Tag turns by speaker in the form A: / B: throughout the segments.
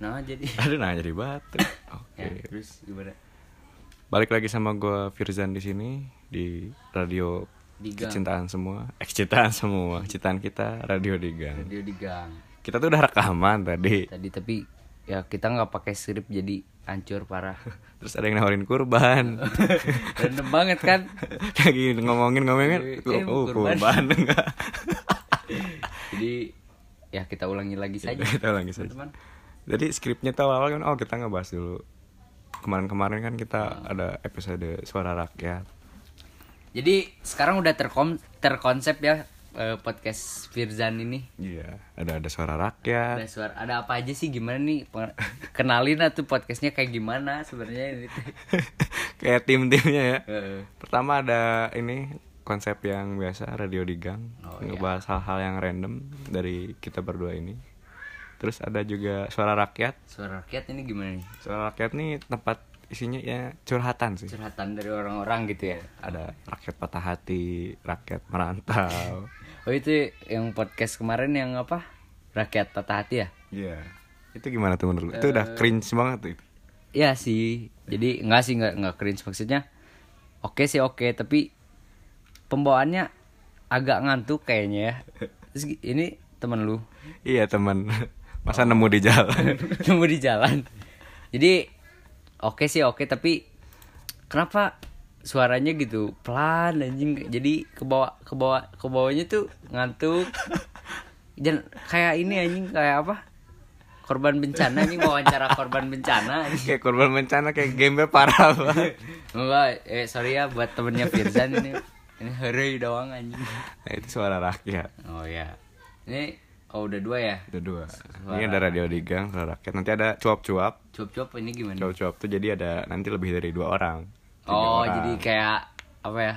A: jadi
B: Aduh nah jadi batuk. Oke.
A: ya, terus gimana
B: Balik lagi sama gue Firzan di sini di radio
A: Digang.
B: kecintaan semua, eh kecintaan semua, kecintaan kita radio digang.
A: radio di gang
B: Kita tuh udah rekaman tadi.
A: tadi tapi ya kita nggak pakai sirip jadi hancur parah
B: Terus ada yang nawarin kurban.
A: random banget kan
B: Lagi ngomongin ngomongin,
A: Eh,
B: oh, oh,
A: kurban.
B: kurban enggak.
A: jadi ya kita ulangi lagi saja
B: kita ulangi saja.
A: teman-teman
B: Jadi skripnya tuh awal kan, oh kita ngebahas dulu. Kemarin-kemarin kan kita
A: Ah.
B: ada episode suara rakyat.
A: jadi sekarang udah terkom terkonsep ya eh, podcast Firzan ini
B: Iya, ada ada suara rakyat.
A: ada suara ada apa aja sih gimana nih Peng- kenalin lah tuh podcastnya kayak gimana sebenarnya ini Eh, tuh.
B: Kayak tim-timnya ya.
A: Heeh.
B: Pertama ada ini konsep yang biasa radio di gang
A: Oh, iya.
B: ngebahas hal-hal yang random dari kita berdua ini. Terus ada juga suara rakyat.
A: suara rakyat ini gimana nih
B: Suara rakyat nih tempat isinya ya curhatan sih.
A: curhatan dari orang-orang gitu ya
B: Ada rakyat patah hati, rakyat merantau.
A: oh itu yang podcast kemarin yang apa rakyat patah hati ya
B: Iya. Itu gimana tuh menurut lu?
A: Eh.
B: Itu udah cringe banget tuh.
A: ya sih jadi nggak sih nggak nggak cringe maksudnya oke sih oke tapi pembawaannya agak ngantuk kayaknya ya Terus gi- ini temen lu
B: Iya, teman. Masa
A: Oh.
B: nemu di jalan.
A: nemu di jalan jadi oke sih oke tapi kenapa suaranya gitu pelan anjing jadi ke bawah ke bawah ke bawahnya tuh ngantuk dan kayak ini anjing kayak apa korban bencana anjing wawancara korban bencana anjing.
B: kayak korban bencana kayak game parah banget.
A: Enggak, eh sorry ya buat temennya Firzan ini ini hari doang anjing.
B: Nah, itu suara rakyat.
A: Oh ya. Ini oh udah dua ya.
B: Itu dua. Ini ada radio digang, suara rakyat. Nanti ada cuap-cuap.
A: Cuap-cuap ini gimana?
B: Cuap-cuap tuh jadi ada nanti lebih dari dua orang. Tiga
A: oh,
B: orang.
A: jadi kayak apa ya?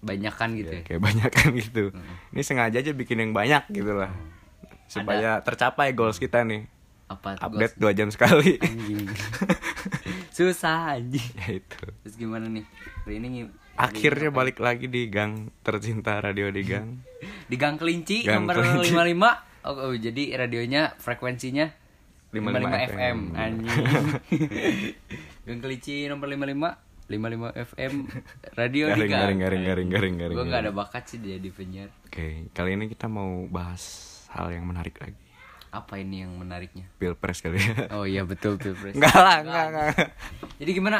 A: Banyakan gitu ya.
B: kayak banyak kan gitu.
A: Hmm.
B: Ini sengaja aja bikin yang banyak gitu lah. Supaya tercapai goals kita nih.
A: Apa tuh,
B: Update dua jam sekali.
A: Gos? anjing. Susah anjing.
B: ya itu.
A: Terus gimana nih? Hari ini ngi-
B: Akhirnya balik lagi di gang tercinta radio di gang.
A: di Gang Kelinci
B: Gang
A: nomor
B: Kelinci.
A: 55. Oh, oh, jadi radionya frekuensinya
B: 55
A: FM.
B: FM.
A: Anjing. Gang Kelinci nomor 55 55 FM radio di Gang.
B: Garing garing garing garing garing garing.
A: Gue gak ada bakat sih jadi penyiar.
B: Oke, kali ini kita mau bahas hal yang menarik lagi.
A: Apa ini yang menariknya?
B: Pilpres kali ya.
A: Oh iya betul Pilpres.
B: Enggak lah, enggak, enggak.
A: Jadi gimana?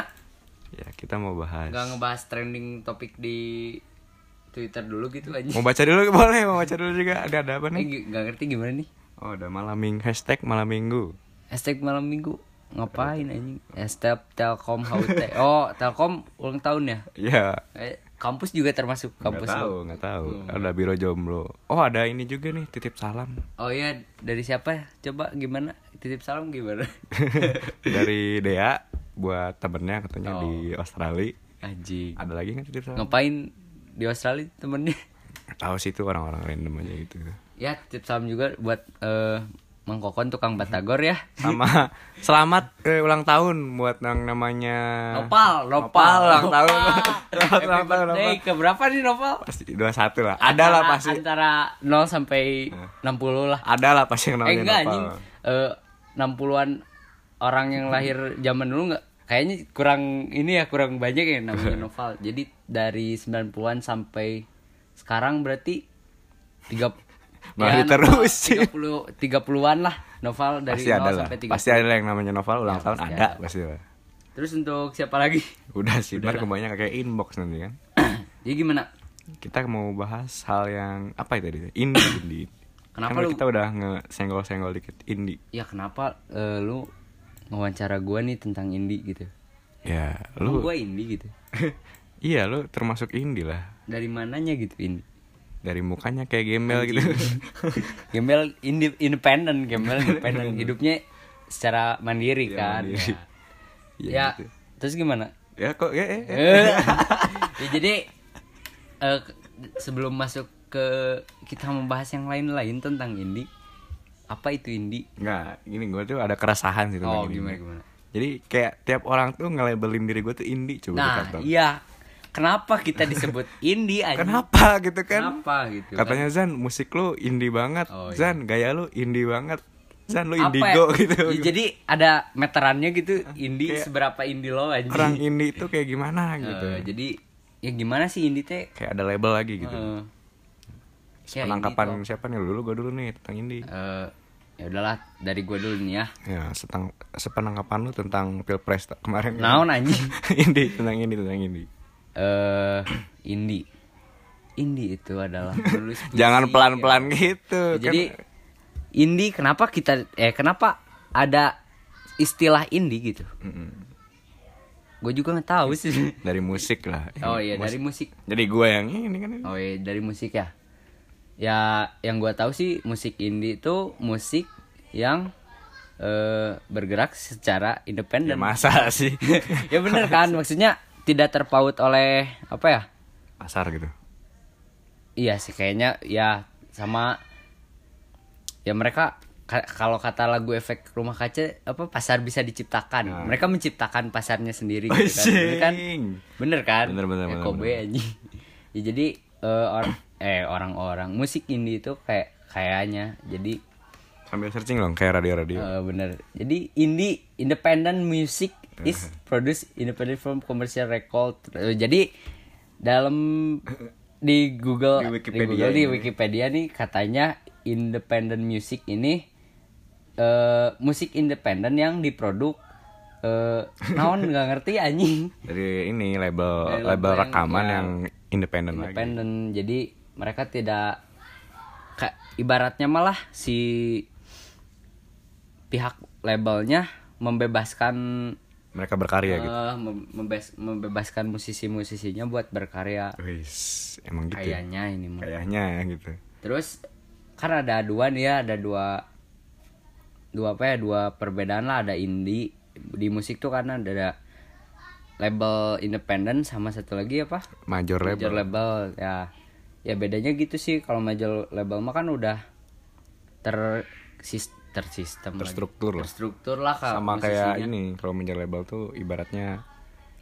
B: Ya, kita mau bahas.
A: Gak ngebahas trending topik di Twitter dulu gitu aja.
B: Mau baca dulu boleh, mau baca dulu juga. Ada ada apa
A: Eh,
B: nih?
A: gi- gak ngerti gimana nih?
B: Oh, ada malam minggu hashtag malam minggu.
A: Hashtag malam minggu ngapain anjing? Hashtag Telkom HUT. Oh, Telkom ulang tahun ya?
B: Ya,
A: Eh, kampus juga termasuk
B: nggak
A: kampus.
B: tahu,
A: lu.
B: nggak tahu.
A: Hmm.
B: Ada biro jomblo. Oh, ada ini juga nih, titip salam
A: Oh iya, dari siapa ya? Coba gimana? Titip salam gimana?
B: dari Dea buat temennya katanya di
A: Oh.
B: Australia.
A: anjing.
B: Ada lagi nggak titip salam?
A: Ngapain di Australia temennya?
B: Nggak Tahu sih itu orang-orang random aja gitu.
A: Ya, titip salam juga buat eh Mang Kokon tukang batagor ya.
B: Sama selamat eh, ulang tahun buat yang namanya
A: Nopal,
B: Nopal,
A: Nopal,
B: ulang tahun. Selamat
A: Happy
B: ulang tahun,
A: birthday.
B: Nopal.
A: Keberapa nih Nopal?
B: Pasti 21 lah. Ada lah
A: Antara-
B: pasti.
A: Antara 0 sampai 60 lah.
B: Ada lah pasti yang
A: eh
B: namanya
A: enggak
B: Nopal.
A: anjing. Eh, 60-an orang yang lahir zaman dulu enggak kayaknya kurang ini ya kurang banyak ya namanya novel. Jadi dari 90-an sampai sekarang berarti ya, 3
B: Masih terus sih.
A: 30 30-an lah novel dari
B: pasti
A: 0
B: ada lah.
A: sampai 30.
B: Pasti ada yang namanya novel ulang
A: Ya,
B: tahun
A: pasti
B: ada,
A: ada.
B: pasti lah.
A: Terus untuk siapa lagi?
B: Udah sih, ntar kebanyakan kayak inbox nanti kan.
A: Jadi Ya gimana?
B: Kita mau bahas hal yang apa itu tadi? Indie, indie.
A: Kenapa
B: Karena
A: lu-
B: kita udah ngesenggol-senggol dikit indie.
A: Ya kenapa eh, lu ngewawancara gua nih tentang indie gitu?
B: Ya,
A: Emang
B: lu
A: gua indie gitu.
B: Iya, lu termasuk indie lah.
A: Dari mananya gitu indie?
B: Dari mukanya kayak gembel gitu.
A: Gembel indi- independen, Gembel independen hidupnya secara mandiri
B: Iya,
A: kan.
B: mandiri.
A: Ya,
B: Iya
A: Ya,
B: gitu.
A: terus gimana?
B: Ya kok ya, ya, ya.
A: Eh. Ya, jadi eh, ke- sebelum masuk ke kita membahas yang lain-lain tentang indie, apa itu indie?
B: Nggak, gini gue tuh ada keresahan gitu
A: Oh, gimana gimana?
B: Jadi kayak tiap orang tuh nge-labelin diri gue tuh indie coba di
A: Nah,
B: kantor.
A: iya. Kenapa kita disebut indie aja?
B: Kenapa gitu kan?
A: Kenapa gitu?
B: Katanya Zan musik lu indie banget
A: Oh, iya.
B: Zan gaya lu indie banget Zan lu
A: Apa
B: indigo
A: ya?
B: gitu
A: Ya, jadi ada meterannya gitu indie
B: kayak-
A: seberapa indie lo anjing
B: orang indie itu kayak gimana
A: Eh,
B: gitu
A: jadi ya gimana sih indie teh
B: kayak ada label lagi gitu
A: Eh, ya,
B: penangkapan
A: indie
B: siapa nih dulu gue dulu nih tentang indie
A: tuh, eh, ya udahlah dari gue dulu nih ya
B: ya setang sepenangkapan lu tentang pilpres ta- kemarin
A: naon anjing
B: indie tentang indie tentang indie
A: eh indie indie itu adalah penulis puisi.
B: jangan pelan pelan
A: Ya,
B: gitu kan
A: jadi indie kenapa kita eh kenapa ada istilah indie gitu gue juga nggak tahu sih
B: dari musik lah
A: oh iya
B: Mus-
A: dari musik
B: jadi gue yang ini kan
A: oh iya dari musik ya ya yang gue tahu sih musik indie itu musik yang eh, bergerak secara
B: ya
A: independen
B: masa sih
A: ya bener kan maksudnya tidak terpaut oleh apa ya
B: pasar gitu
A: Iya sih kayaknya ya sama ya mereka ka- kalau kata lagu efek rumah kaca apa pasar bisa diciptakan.
B: Nah.
A: Mereka menciptakan pasarnya sendiri
B: Oh,
A: gitu kan. Bener kan?
B: sing.
A: Bener kan?
B: Bener, bener,
A: Ya,
B: bener,
A: Kobe
B: bener.
A: anjing. Ya, jadi eh, or- eh orang-orang musik indie itu kayak kayaknya jadi
B: sambil searching dong kayak radio radio
A: eh, bener. Jadi indie independent music is
B: Mm-hmm.
A: produced independent from commercial record. Eh, Jadi dalam di Google
B: Di
A: di
B: Wikipedia
A: Google, di
B: ini.
A: Wikipedia nih katanya independent music ini eh musik independen yang diproduk eh naon nggak ngerti anjing
B: dari ini label
A: Dari label
B: label
A: yang-
B: rekaman
A: ya. Iya.
B: yang independen lagi
A: independen jadi mereka tidak ka- ibaratnya malah si pihak labelnya membebaskan
B: mereka berkarya gitu
A: eh, mem- membes- membebaskan musisi-musisinya buat berkarya
B: Wis, emang gitu ya?
A: kayaknya ini mah.
B: kayaknya ya gitu
A: terus kan ada dua nih ya ada dua dua apa ya dua perbedaan lah ada indie di musik tuh karena ada- ada label independen sama satu lagi apa
B: major label
A: major label ya ya bedanya gitu sih kalau major label mah kan udah ter sis- tersistem lagi.
B: Terstruktur lah.
A: terstruktur lah Kak,
B: sama
A: musisinya.
B: kayak ini kalau major label tuh ibaratnya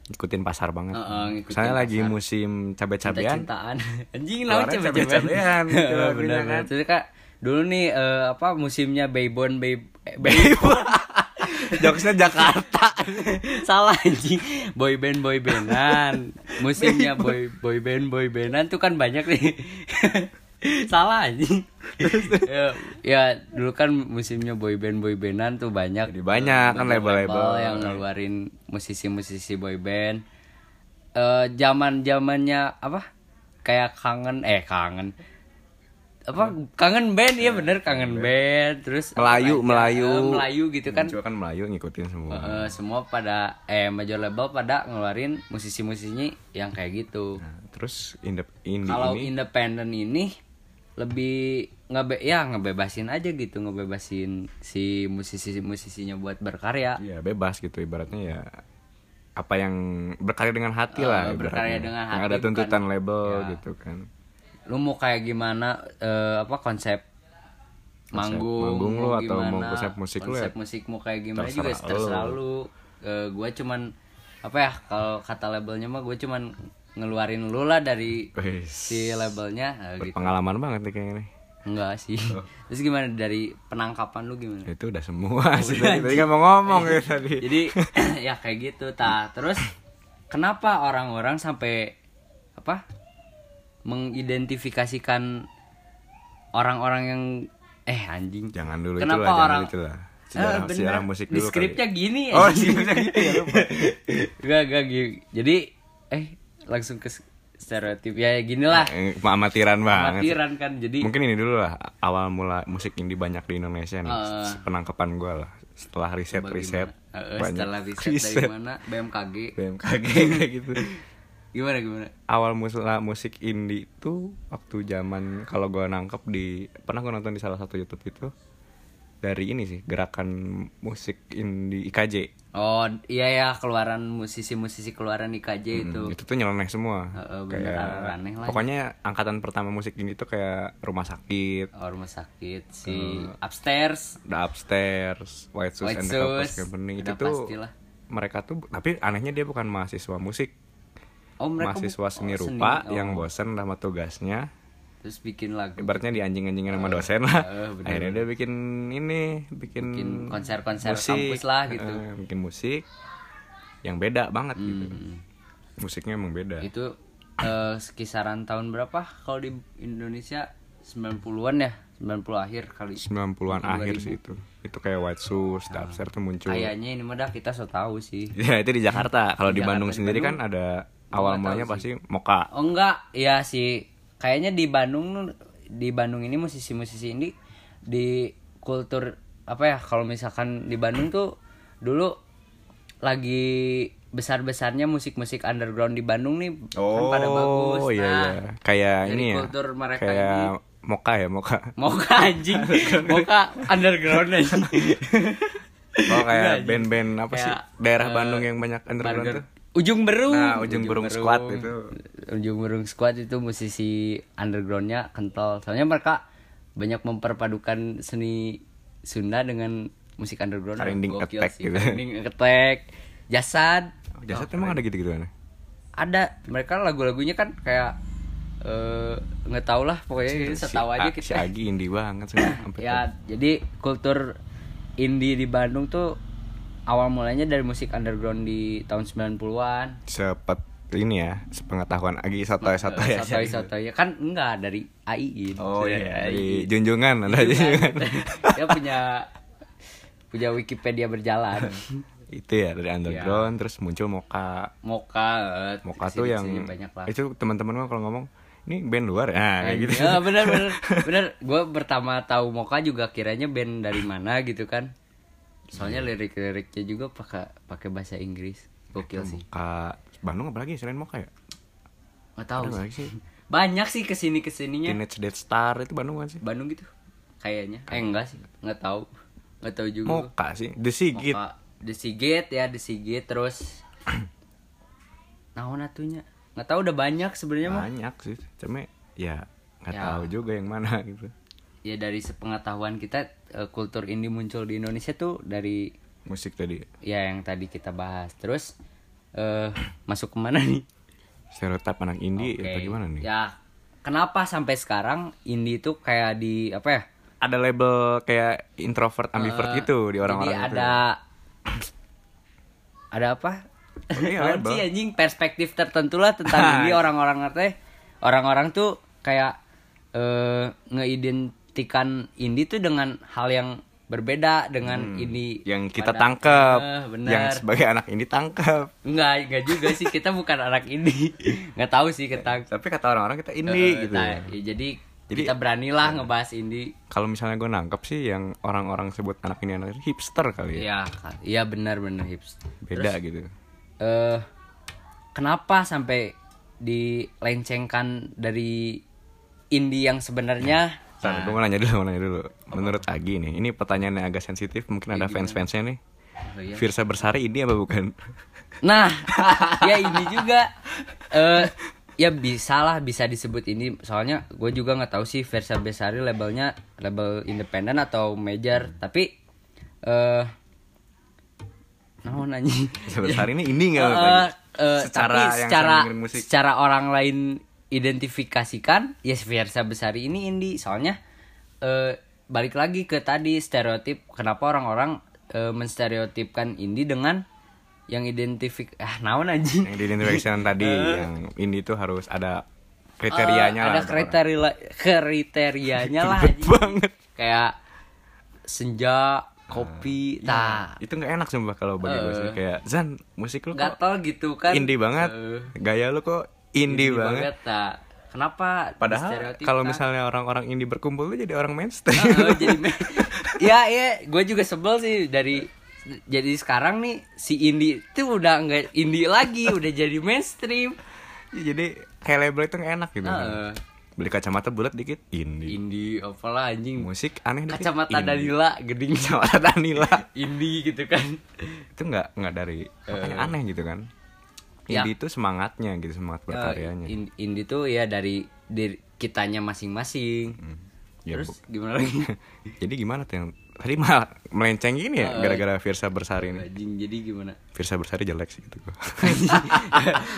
B: ngikutin pasar banget.
A: Heeh, ngikutin
B: Saya lagi musim cabai-cabean.
A: cintaan anjing
B: Keluarin
A: lah
B: cabe-cabean, gitu
A: bener
B: lagunya
A: bener
B: kan.
A: Terus, Kak, dulu nih eh, apa musimnya Baybon Bay eh, Baybon
B: Jokesnya Jakarta.
A: salah anjing boyband boybandan musimnya boy boyband boybandan tuh kan banyak nih salah anjing ya, ya, dulu kan musimnya boyband boybandan tuh banyak
B: Jadi banyak kan label-label.
A: yang ngeluarin musisi-musisi boyband eh zaman zamannya apa kayak kangen eh kangen apa kangen band iya bener kangen band terus apa
B: Melayu,
A: lagi?
B: Melayu.
A: Eh, melayu gitu kan
B: Muncul kan Melayu ngikutin semua.
A: Eh, semua pada eh major label pada ngeluarin musisi-musisinya yang kayak gitu.
B: Nah, terus indep indie
A: Kalau
B: Nah, ini
A: independen ini lebih ngebe ya ngebebasin aja gitu ngebebasin si musisi-musisinya buat berkarya.
B: ya bebas gitu ibaratnya ya apa yang berkarya dengan hati
A: Eh,
B: lah
A: berkarya
B: ibaratnya.
A: dengan
B: Yang
A: hati,
B: ada
A: bukan-
B: tuntutan label
A: ya.
B: gitu kan
A: Lu mau kayak gimana eh, apa konsep manggung,
B: manggung lu atau
A: gimana,
B: mau konsep musik lu ya?
A: konsep musikmu kayak gimana juga
B: Terserah
A: terserah
B: lu.
A: lu. Eh, gua cuman apa ya kalau kata labelnya mah gue cuman ngeluarin lu lah dari
B: Wis.
A: si labelnya nah, gitu.
B: berpengalaman banget nih kayaknya nih
A: Enggak sih. Terus gimana dari penangkapan lu gimana?
B: itu udah semua sih tadi tadi kan mau ngomong
A: Iya.
B: gitu tadi
A: Jadi ya kayak gitu ta. Terus kenapa orang-orang sampai apa? mengidentifikasikan orang-orang yang eh anjing.
B: Jangan dulu
A: Kenapa
B: itu lah, jangan
A: orang-
B: dulu itu lah.
A: Eh,
B: Sejarah,
A: bener.
B: sejarah musik
A: Di
B: dulu kali.
A: skripnya gini
B: Oh,
A: anjing.
B: skripnya gitu ya, lupa.
A: Gak, gak gitu. Jadi eh langsung ke stereotip ya ginilah.
B: Eh, amatiran banget.
A: Amatiran kan jadi
B: Mungkin ini dulu lah awal mula musik indie banyak di Indonesia nih.
A: Eh.
B: Penangkapan gue lah setelah riset riset
A: bagaimana? Eh, eh, setelah riset, dari mana? BMKG.
B: BMKG kayak gitu.
A: Gimana gimana?
B: Awal mula musik indie itu waktu zaman kalau gue nangkep di pernah gue nonton di salah satu YouTube itu dari ini sih gerakan musik indie IKJ.
A: Oh iya ya keluaran musisi-musisi keluaran IKJ itu.
B: Hmm, itu tuh nyeleneh semua
A: Heeh, bener,
B: kayak
A: aneh lah. ya.
B: pokoknya angkatan pertama musik ini tuh kayak rumah sakit
A: Oh, rumah sakit si upstairs.
B: the upstairs white shoes
A: White
B: and the Helpless
A: Shoes,
B: company itu
A: udah
B: tuh
A: pastilah.
B: mereka tuh tapi anehnya dia bukan mahasiswa musik
A: Oh mereka bu-
B: mahasiswa seni
A: oh,
B: rupa
A: oh.
B: yang bosen sama tugasnya
A: terus bikin lagu
B: ibaratnya di anjing-anjingin sama dosen lah
A: eh, bener.
B: akhirnya dia bikin ini bikin,
A: Bikin konser-konser
B: musik.
A: kampus lah gitu.
B: Eh, bikin musik yang beda banget gitu musiknya emang beda
A: Hmm. itu eh, kisaran tahun berapa kalau di Indonesia 90-an ya 90 akhir kali
B: 90-an akhir sih itu itu kayak White Shoes,
A: Ah.
B: Dapster tuh muncul
A: kayaknya ini mah dah kita so tahu sih
B: ya itu di Jakarta kalau di
A: Jakarta,
B: Bandung
A: di
B: sendiri
A: Bandung.
B: kan ada
A: Gua
B: awal
A: nggak
B: mulanya
A: tahu
B: pasti Moka
A: oh enggak ya sih kayaknya di Bandung di Bandung ini musisi-musisi ini di kultur apa ya kalau misalkan di Bandung tuh dulu lagi besar-besarnya musik-musik underground di Bandung nih kan pada bagus Nah,
B: iya iya kayak
A: dari
B: ini ya
A: kultur mereka
B: kayak
A: ini
B: Moka ya Moka
A: mau ke anjing mau ke underground anjing
B: Oh
A: Enggak,
B: kayak
A: anjing.
B: band-band apa sih
A: Iya, Kayak,
B: daerah
A: eh,
B: Bandung yang banyak underground
A: Burger-
B: tuh
A: ujung berung
B: Nah, Ujung Berung Squad itu.
A: ujung berung squad itu musisi undergroundnya kental soalnya mereka banyak memperpadukan seni Sunda dengan musik underground
B: Trending
A: Gokil
B: attack
A: sih.
B: gitu.
A: trending attack jasad
B: Oh, Jasad emang ada gitu-gituan ya?
A: ada mereka lagu-lagunya kan kayak eh, nggak tau lah pokoknya ini Eh, setahu aja
B: A-
A: kita
B: si Agi indie banget sih sampai
A: ya jadi kultur indie di Bandung tuh awal mulanya dari musik underground di tahun 90-an
B: sepet ini ya sepengetahuan Agi satu satu ya
A: satu satu ya kan enggak dari gitu. AI
B: oh iya
A: Dari
B: di junjungan ada
A: AI.
B: junjungan
A: dia punya punya Wikipedia berjalan
B: itu ya dari underground terus muncul Moka
A: Moka eh,
B: Moka
A: kesini-
B: tuh yang
A: kesini banyak lah
B: itu teman-teman gua kalau ngomong ini band luar nah kayak gitu
A: Ya, bener bener bener gue pertama tahu Moka juga kiranya band dari mana gitu kan soalnya
B: Iya.
A: lirik-liriknya juga pakai pakai bahasa Inggris gokil sih
B: Moka Bandung apalagi selain Moka ya
A: nggak tahu
B: Ada nggak
A: sih.
B: sih?
A: banyak sih kesini kesininya
B: Teenage Dead Star itu Bandung kan sih
A: Bandung gitu kayaknya eh enggak sih nggak tahu nggak tahu juga gua.
B: Moka sih The Sigit
A: Moka. The Sigit ya The Sigit terus naon atunya nggak tahu udah banyak sebenarnya mah
B: banyak sih cuma ya nggak
A: Iya, Ya.
B: tahu juga yang mana gitu
A: ya dari sepengetahuan kita eh, kultur indie muncul di Indonesia tuh dari
B: musik tadi
A: ya yang tadi kita bahas terus eh masuk kemana nih
B: stereotip anak indie
A: Oke.
B: atau gimana Iya, nih
A: ya kenapa sampai sekarang indie itu kayak di apa ya
B: ada label kayak introvert ambivert gitu di orang-orang
A: Eh, Jadi
B: itu.
A: ada ada apa?
B: Iya,
A: Apaan
B: label.
A: sih anjing perspektif tertentu lah tentang ini orang-orang teh orang-orang tuh kayak eh, ngeidentikan indie tuh dengan hal yang berbeda dengan ini
B: Hmm, yang kita tangkap
A: Eh, benar.
B: yang sebagai anak indie tangkap
A: enggak enggak juga sih kita bukan anak indie nggak tahu sih kita
B: tapi kata orang-orang kita indie gitu
A: Nah, ya jadi,
B: Jadi- ya.
A: kita beranilah ngebahas indie
B: kalau misalnya gue nangkep sih yang orang-orang sebut anak ini anak ini, hipster kali
A: ya
B: ya
A: iya benar-benar hips
B: beda gitu
A: eh kenapa sampai dilencengkan dari indie yang sebenarnya
B: Bentar, gue mau nanya dulu, mau nanya dulu. Menurut Agi nih, ini pertanyaan yang agak sensitif, mungkin ada fans-fansnya nih.
A: Iya, Oh, iya.
B: Virsa Bersari ini apa bukan?
A: nah ya ini juga eh ya bisa lah bisa disebut ini soalnya gue juga nggak tahu sih Versa Besari labelnya label independen atau major tapi eh naon anjing?
B: Virsa Bersari Iya, ini indie nggak?
A: Eh,
B: bukan?
A: eh, tapi
B: yang
A: secara
B: sering dengerin musik.
A: secara orang lain identifikasikan ya Fiersa Besari ini indie soalnya eh, balik lagi ke tadi stereotip kenapa orang-orang eh, menstereotipkan indie dengan yang identifik ah naon anjing
B: yang di identification tadi yang ini tuh harus ada kriterianya
A: Eh, ada Ah, iya.
B: lah untuk
A: kriteria kriterianya lah
B: Ribet
A: anjing.
B: banget.
A: kayak senja
B: Ah,
A: kopi
B: orang.
A: tah
B: itu nggak enak sumpah kalau bagi gue sih kayak Zan musik lu kok
A: gatel gitu Eh. kan
B: indie banget
A: Eh,
B: gaya lu kok indie, banget.
A: tah. kenapa
B: padahal
A: distereotipkan?
B: kalau misalnya orang-orang indie berkumpul tuh jadi orang mainstream
A: Heeh, Oh, jadi me- gitu. ya ya gue juga sebel sih dari jadi sekarang nih si indie itu udah nggak indie lagi udah jadi mainstream
B: jadi kayak label itu nggak enak gitu
A: Heeh.
B: beli kacamata bulat dikit indie
A: indie apalah anjing
B: musik aneh dikit
A: kacamata
B: indie.
A: Danila geding
B: kacamata Danila
A: indie gitu kan
B: itu nggak nggak dari makanya aneh gitu kan
A: Eh. Ya.
B: indie itu semangatnya gitu semangat berkaryanya
A: Eh, in- indie tuh ya dari diri kitanya masing-masing
B: Ya,
A: terus gimana lagi
B: Jadi gimana tuh yang tadi malah melenceng gini
A: Eh.
B: ya gara-gara Virsa Bersari ini.
A: anjing jadi gimana
B: Virsa Bersari jelek sih gitu.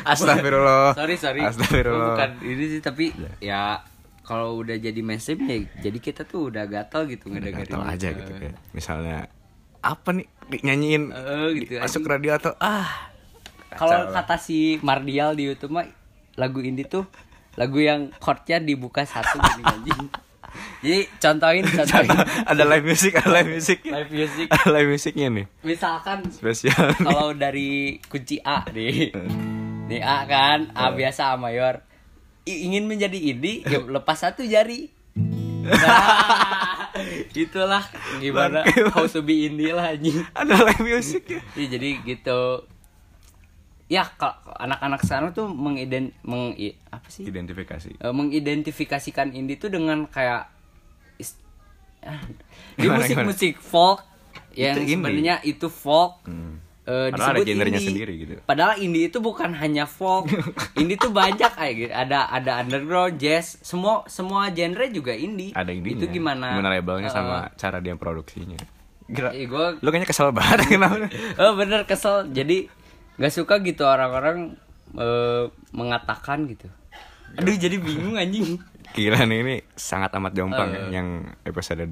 B: Astagfirullah.
A: sorry sorry
B: Oh, Astagfirullah. Iya.
A: bukan ini sih tapi ya kalau udah jadi mainstream ya jadi kita tuh udah gatal gitu ngedengerin
B: atau aja gitu kayak misalnya apa nih Di- nyanyiin
A: Eh, gitu
B: di- masuk radio atau ah
A: Kalau kata
B: Kacau.
A: si Mardial di YouTube mah lagu indie tuh lagu yang chordnya dibuka satu gini anjing. Jadi contohin contohin
B: ada live music ada live music
A: live music
B: ada live musicnya nih
A: misalkan
B: spesial nih.
A: kalau dari kunci A nih. Nih A kan, A biasa A mayor. I- ingin menjadi indie ya lepas satu jari. Nah, itulah gimana how to be indie lah anjing.
B: ada live music ya
A: Iya, jadi gitu. Ya kalau anak-anak sekarang tuh mengident meng i- apa sih?
B: identifikasi
A: Eh, mengidentifikasikan indie tuh dengan kayak is- ah, di
B: Gimana,
A: musik-musik folk yang
B: Itu indie. Hmm.
A: sebenarnya itu folk. eh,
B: Padahal ada
A: disebut
B: genrenya
A: indie.
B: sendiri gitu.
A: Padahal indie itu bukan hanya folk. indie tuh banyak kayak gitu. Ada ada underground, jazz, semua semua genre juga indie.
B: ada yang
A: Itu gimana?
B: gimana
A: Eh,
B: labelnya sama cara dia produksinya Gila.
A: Iya, gua-
B: lu kayaknya kesel banget kenapa
A: oh bener kesel jadi nggak suka gitu orang-orang eh, mengatakan gitu aduh jadi bingung anjing
B: gila nih ini sangat amat jomplang ya, yang episode 2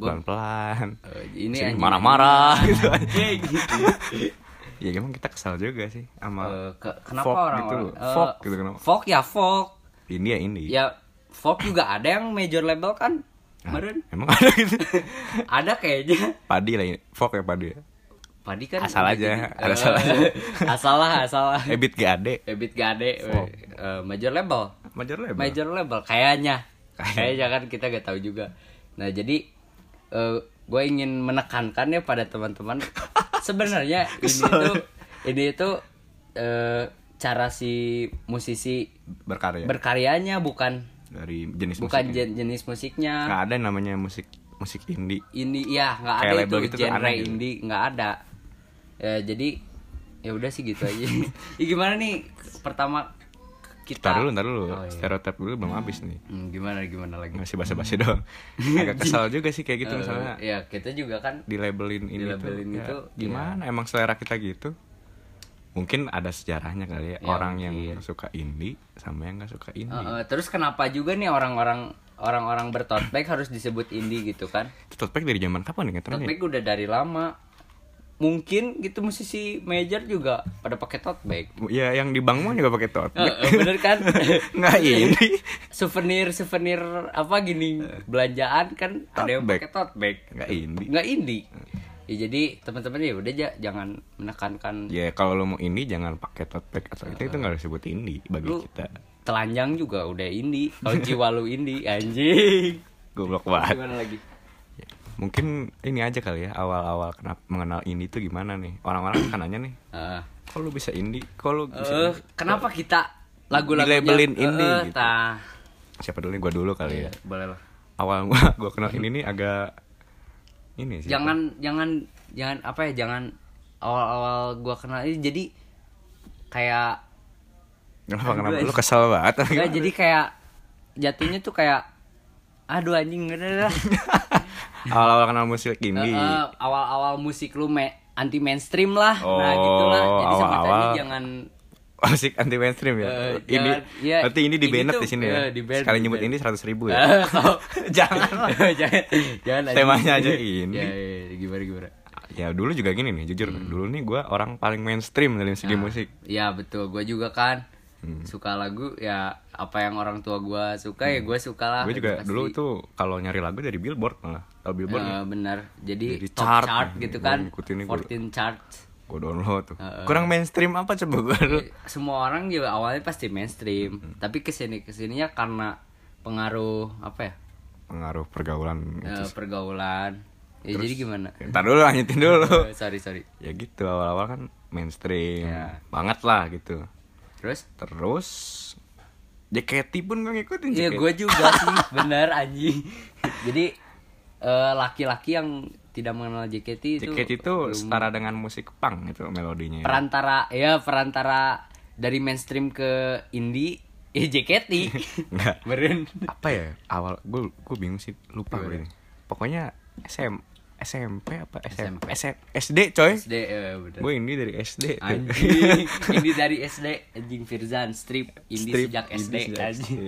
B: pelan-pelan
A: Eh, ini
B: Sini
A: anjing
B: marah-marah gitu
A: Kayak gitu.
B: ya emang kita kesal juga
A: Eh,
B: sih sama
A: ke- kenapa
B: folk
A: orang
B: gitu
A: orang eh,
B: folk gitu kenapa
A: folk ya folk
B: ini ya ini
A: ya folk juga ada yang major label kan kemarin
B: emang ada gitu
A: ada kayaknya
B: padi lah ini folk ya padi ya
A: padi kan
B: Asal
A: udah
B: aja,
A: jadi-
B: ada
A: eh,
B: asal aja.
A: asal lah asal lah
B: ebit gade
A: Ebit Gade,
B: Folk.
A: eh, major label
B: major label
A: major label kayaknya
B: Kayaknya.
A: kayaknya kan kita gak tahu juga nah jadi gue ingin menekankan ya pada teman-teman sebenarnya ini tuh
B: ya.
A: ini itu eh, cara si musisi
B: berkarya
A: berkaryanya bukan
B: dari Iya. jenis
A: bukan
B: musiknya
A: jen- jenis musiknya
B: nggak ada yang namanya musik musik indie
A: ini ya nggak ada
B: Kayak
A: itu
B: label gitu tuh
A: genre
B: aneh gitu.
A: indie nggak ada Ya, jadi ya udah sih gitu aja Ya, gimana nih pertama kita
B: Ntar dulu, ntar dulu.
A: Oh, iya.
B: Stereotip dulu belum habis nih.
A: Hmm, gimana gimana lagi
B: Masih basa-basi doang. Agak kesal juga sih kayak gitu
A: Hmm. Eh,
B: misalnya
A: ya kita juga kan
B: di labelin ini
A: Dilabelin
B: tuh, ya,
A: itu,
B: gimana emang selera kita gitu? Mungkin ada sejarahnya kali ya,
A: Ya,
B: orang yang
A: mungkin.
B: suka indie sama yang nggak suka
A: eh,
B: indie.
A: eh, terus kenapa juga nih orang-orang orang-orang bertote bag harus disebut indie gitu kan
B: Itu tote bag dari zaman kapan nih ngetren
A: tote
B: ya?
A: bag udah dari lama mungkin gitu musisi major juga pada pakai tote bag
B: Ya yang di bank mah juga pakai tote
A: Eh,
B: bag.
A: eh, bener kan
B: Nggak iya. indie.
A: souvenir souvenir apa gini belanjaan kan ada
B: Tote
A: yang
B: bag.
A: pakai tote bag
B: Eh. Nggak indie. Eh.
A: nggak indie ya jadi teman-teman ya udah ja- jangan menekankan
B: Ya kalau lo mau indie jangan pakai tote bag atau itu itu nggak disebut indie bagi
A: Eh. Lu-
B: kita.
A: telanjang juga udah indie kalau jiwa lu indie anjing
B: Goblok banget.
A: gimana lagi
B: Mungkin ini aja kali ya awal-awal kenapa mengenal indie itu gimana nih? Orang-orang kan nanya nih,
A: Eh,
B: kok lu bisa indie? Kok lu bisa
A: eh,
B: indie?
A: kenapa kita lagu-lagunya
B: Dilabelin indie
A: Eh,
B: gitu.
A: tah.
B: Siapa dulu nih gua dulu kali ya.
A: boleh lah
B: Awal gua gua kenal ini nih agak ini sih.
A: jangan jangan jangan apa ya jangan awal-awal gua kenal ini jadi kayak
B: kenapa kenapa lu kesel banget?
A: enggak jadi kayak jatuhnya tuh kayak aduh anjing nggak ada lah
B: Awal-awal kenal musik
A: Eh,
B: indie.
A: eh, awal-awal musik lu me- anti mainstream lah nah
B: Oh,
A: gitulah jadi
B: awal-awal.
A: sebutannya jangan
B: musik anti mainstream ya.
A: Eh,
B: ini
A: jangan- ya,
B: berarti ini di
A: ini
B: banned
A: tuh,
B: di sini
A: eh,
B: ya.
A: di-banned,
B: Sekali nyebut
A: di-banned.
B: ini 100 ribu ya.
A: Eh, kalau-
B: Jangan lah.
A: jangan jangan anjing.
B: Temanya aja ini.
A: ya, ya, ya, gimana gimana
B: Ya dulu juga gini nih, jujur.
A: Hmm.
B: Dulu nih gua orang paling mainstream dalam segi musik.
A: ya betul gue juga kan
B: Hmm.
A: suka lagu ya apa yang orang tua gue suka ya gue suka lah
B: Gue Hmm. juga
A: Pasti.
B: dulu tuh kalau nyari lagu dari Billboard malah. Kalau Billboard
A: Eh, benar jadi,
B: Jadi
A: top
B: chart.
A: chart, gitu
B: Gua
A: kan
B: ngikutin nih, gua.
A: 14 chart
B: gue download tuh.
A: Ah,
B: Kurang mainstream apa coba gue dulu.
A: Iya. semua orang juga awalnya pasti mainstream
B: Hmm.
A: tapi kesini kesininya karena pengaruh apa ya
B: Pengaruh pergaulan
A: eh,
B: itu.
A: pergaulan ya jadi gimana
B: Ntar dulu lanjutin dulu.
A: Eh, sorry sorry
B: ya gitu awal-awal kan mainstream
A: Ya.
B: banget lah gitu.
A: terus
B: Terus JKT pun gue ngikutin
A: Iya
B: JKT.
A: gue juga sih bener anjing jadi eh, laki-laki yang tidak mengenal JKT itu
B: JKT itu setara dengan musik punk itu melodinya. ya.
A: perantara ya perantara dari mainstream ke indie ya JKT
B: Enggak.
A: Meren.
B: Apa ya? Awal gue gue bingung sih
A: Iya,
B: lupa gue ini. Pokoknya SM SMP apa SM, SM SD coy.
A: SD eh, bener.
B: Gue ini dari SD.
A: anjing ini dari SD anjing Firzan strip indie
B: Strip
A: sejak
B: ini
A: SD
B: sejak
A: anjing
B: SD.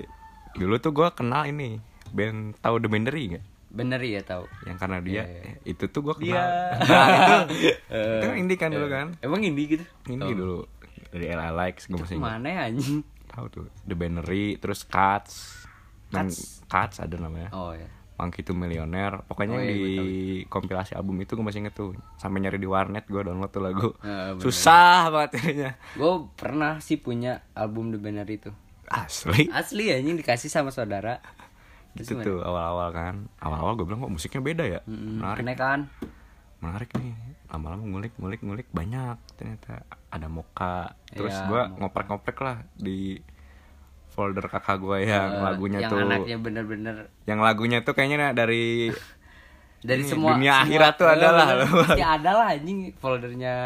B: dulu tuh gue kenal ini band tahu The Bendery gak?
A: bener ya tahu
B: Yang karena dia itu tuh gue kenal.
A: Iya.
B: Nah, itu, itu kan indie kan dulu kan?
A: emang indie gitu
B: Indie dulu dari LA Likes gue masih ingat.
A: mana ya anjing
B: Tahu tuh The Bendery terus Cuts. Dan Cuts ada namanya.
A: oh ya
B: Monkey to Millionaire
A: Oh,
B: Pokoknya
A: iya,
B: yang
A: gua
B: di kompilasi album itu gue masih inget tuh Sampai nyari di warnet gue download tuh lagu
A: Ah, bener.
B: Susah banget nyarinya
A: gue pernah sih punya album The Banner itu
B: Asli
A: asli anjing dikasih sama saudara
B: Gitu tuh awal-awal kan Awal-awal gue bilang kok musiknya beda ya Menarik
A: Kena kan
B: Menarik nih Lama-lama ngulik ngulik ngulik Banyak ternyata Ada Moka Terus
A: Iya,
B: gue ngoprek-ngoprek lah Di folder kakak gue yang
A: Eh,
B: lagunya
A: yang
B: tuh
A: anaknya bener-bener
B: Yang lagunya tuh kayaknya dari
A: dari
B: Ini,
A: semua semua-
B: dunia akhirat tuh
A: Eh,
B: adalah
A: bener.
B: lu.
A: pasti ada lah anjing foldernya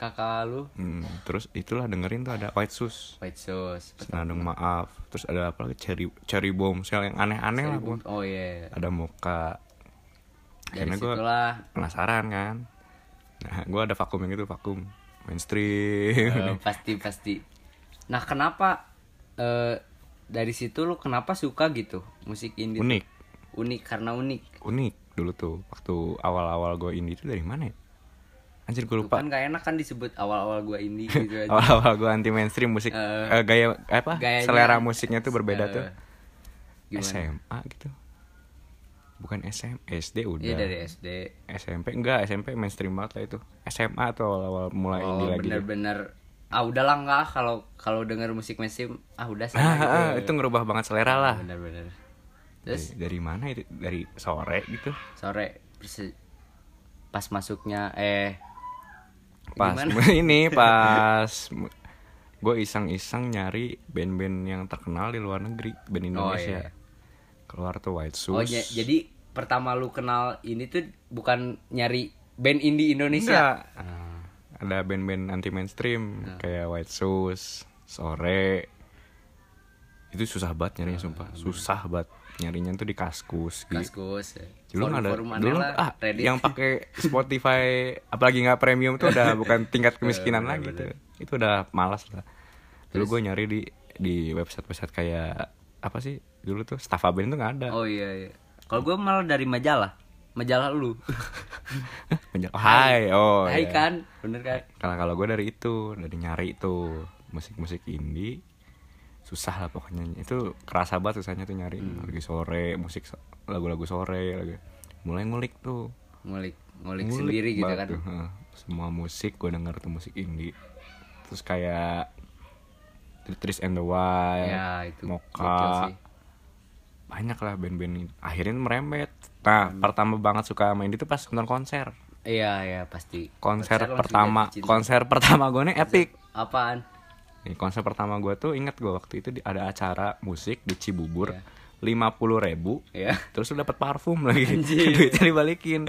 A: kakak lu
B: Hmm, Terus itulah dengerin tuh ada White Shoes
A: white sauce
B: Senandung maaf Terus ada apa lagi Cherry, cherry bomb yang aneh-aneh lah gua.
A: oh iya
B: Ada moka
A: dari
B: Akhirnya gue
A: situlah
B: penasaran kan Nah gue ada vakum yang itu vakum Mainstream
A: Eh, pasti pasti nah kenapa eh, dari situ lu kenapa suka gitu musik indie
B: Unik
A: unik karena unik
B: Unik dulu tuh Waktu awal-awal gue indie itu dari mana ya? Anjir gue lupa Oh,
A: kan gak enak kan disebut awal-awal gua indie gitu aja
B: Awal-awal gue anti mainstream musik
A: Eh,
B: eh, Gaya apa
A: gayanya-
B: Selera musiknya tuh berbeda
A: Eh,
B: tuh
A: gimana?
B: SMA gitu Bukan SM SD udah
A: Iya dari SD
B: SMP enggak SMP mainstream banget lah itu SMA tuh awal-awal mulai
A: oh
B: indie lagi
A: bener-bener ah udahlah nggak kalau kalau denger musik mainstream ah udah
B: Ah,
A: sama
B: ah, itu ngerubah banget selera lah
A: bener-bener terus
B: dari, dari mana itu dari sore gitu
A: sore perse- pas masuknya eh
B: pas
A: Gimana?
B: ini pas gue iseng-iseng nyari band-band yang terkenal di luar negeri band
A: iya.
B: Indonesia keluar tuh White Shoes
A: oh ja- jadi pertama lu kenal ini tuh bukan nyari band indie Indonesia
B: Enggak. Ah, ada band-band anti mainstream
A: Iya.
B: kayak White Shoes sore itu susah banget nyarinya sumpah susah banget nyarinya tuh di kaskus gitu
A: Ah, kaskus eh,
B: dulu nggak ada
A: forum-forum
B: dulu
A: aneh lah,
B: ah
A: Reddit.
B: yang pakai Spotify apalagi nggak premium tuh udah bukan tingkat kemiskinan
A: Iya,
B: lagi tuh itu udah malas lah dulu gue nyari di di website website kayak apa sih dulu tuh Stafaben tuh nggak ada
A: oh iya, iya. kalau gue malah dari majalah majalah lu
B: Menja- oh, hai oh
A: Hai
B: iya.
A: kan bener kan
B: kalau kalau gue dari itu dari nyari itu musik-musik indie susah lah pokoknya itu kerasa banget susahnya tuh nyari
A: Hmm.
B: lagi sore musik so- lagu-lagu sore lagi mulai ngulik tuh
A: ngulik ngulik
B: Ngulik
A: sendiri gitu
B: banget
A: kan
B: tuh, heeh. semua musik gue denger tuh musik indie terus kayak The Trees and the Wild
A: ya itu gokil
B: Moka
A: sih.
B: banyak lah band-band ini akhirnya merembet
A: Hmm.
B: nah pertama banget suka main itu pas nonton konser
A: iya iya pasti
B: konser
A: langsung
B: pertama
A: jatuh cinta.
B: konser pertama gue nih epic
A: apaan
B: Nih, konser pertama gue tuh inget gue waktu itu di- ada acara musik di Cibubur
A: Iya.
B: lima puluh ribu
A: ya
B: terus lu dapat parfum lagi
A: Anjir.
B: duitnya dibalikin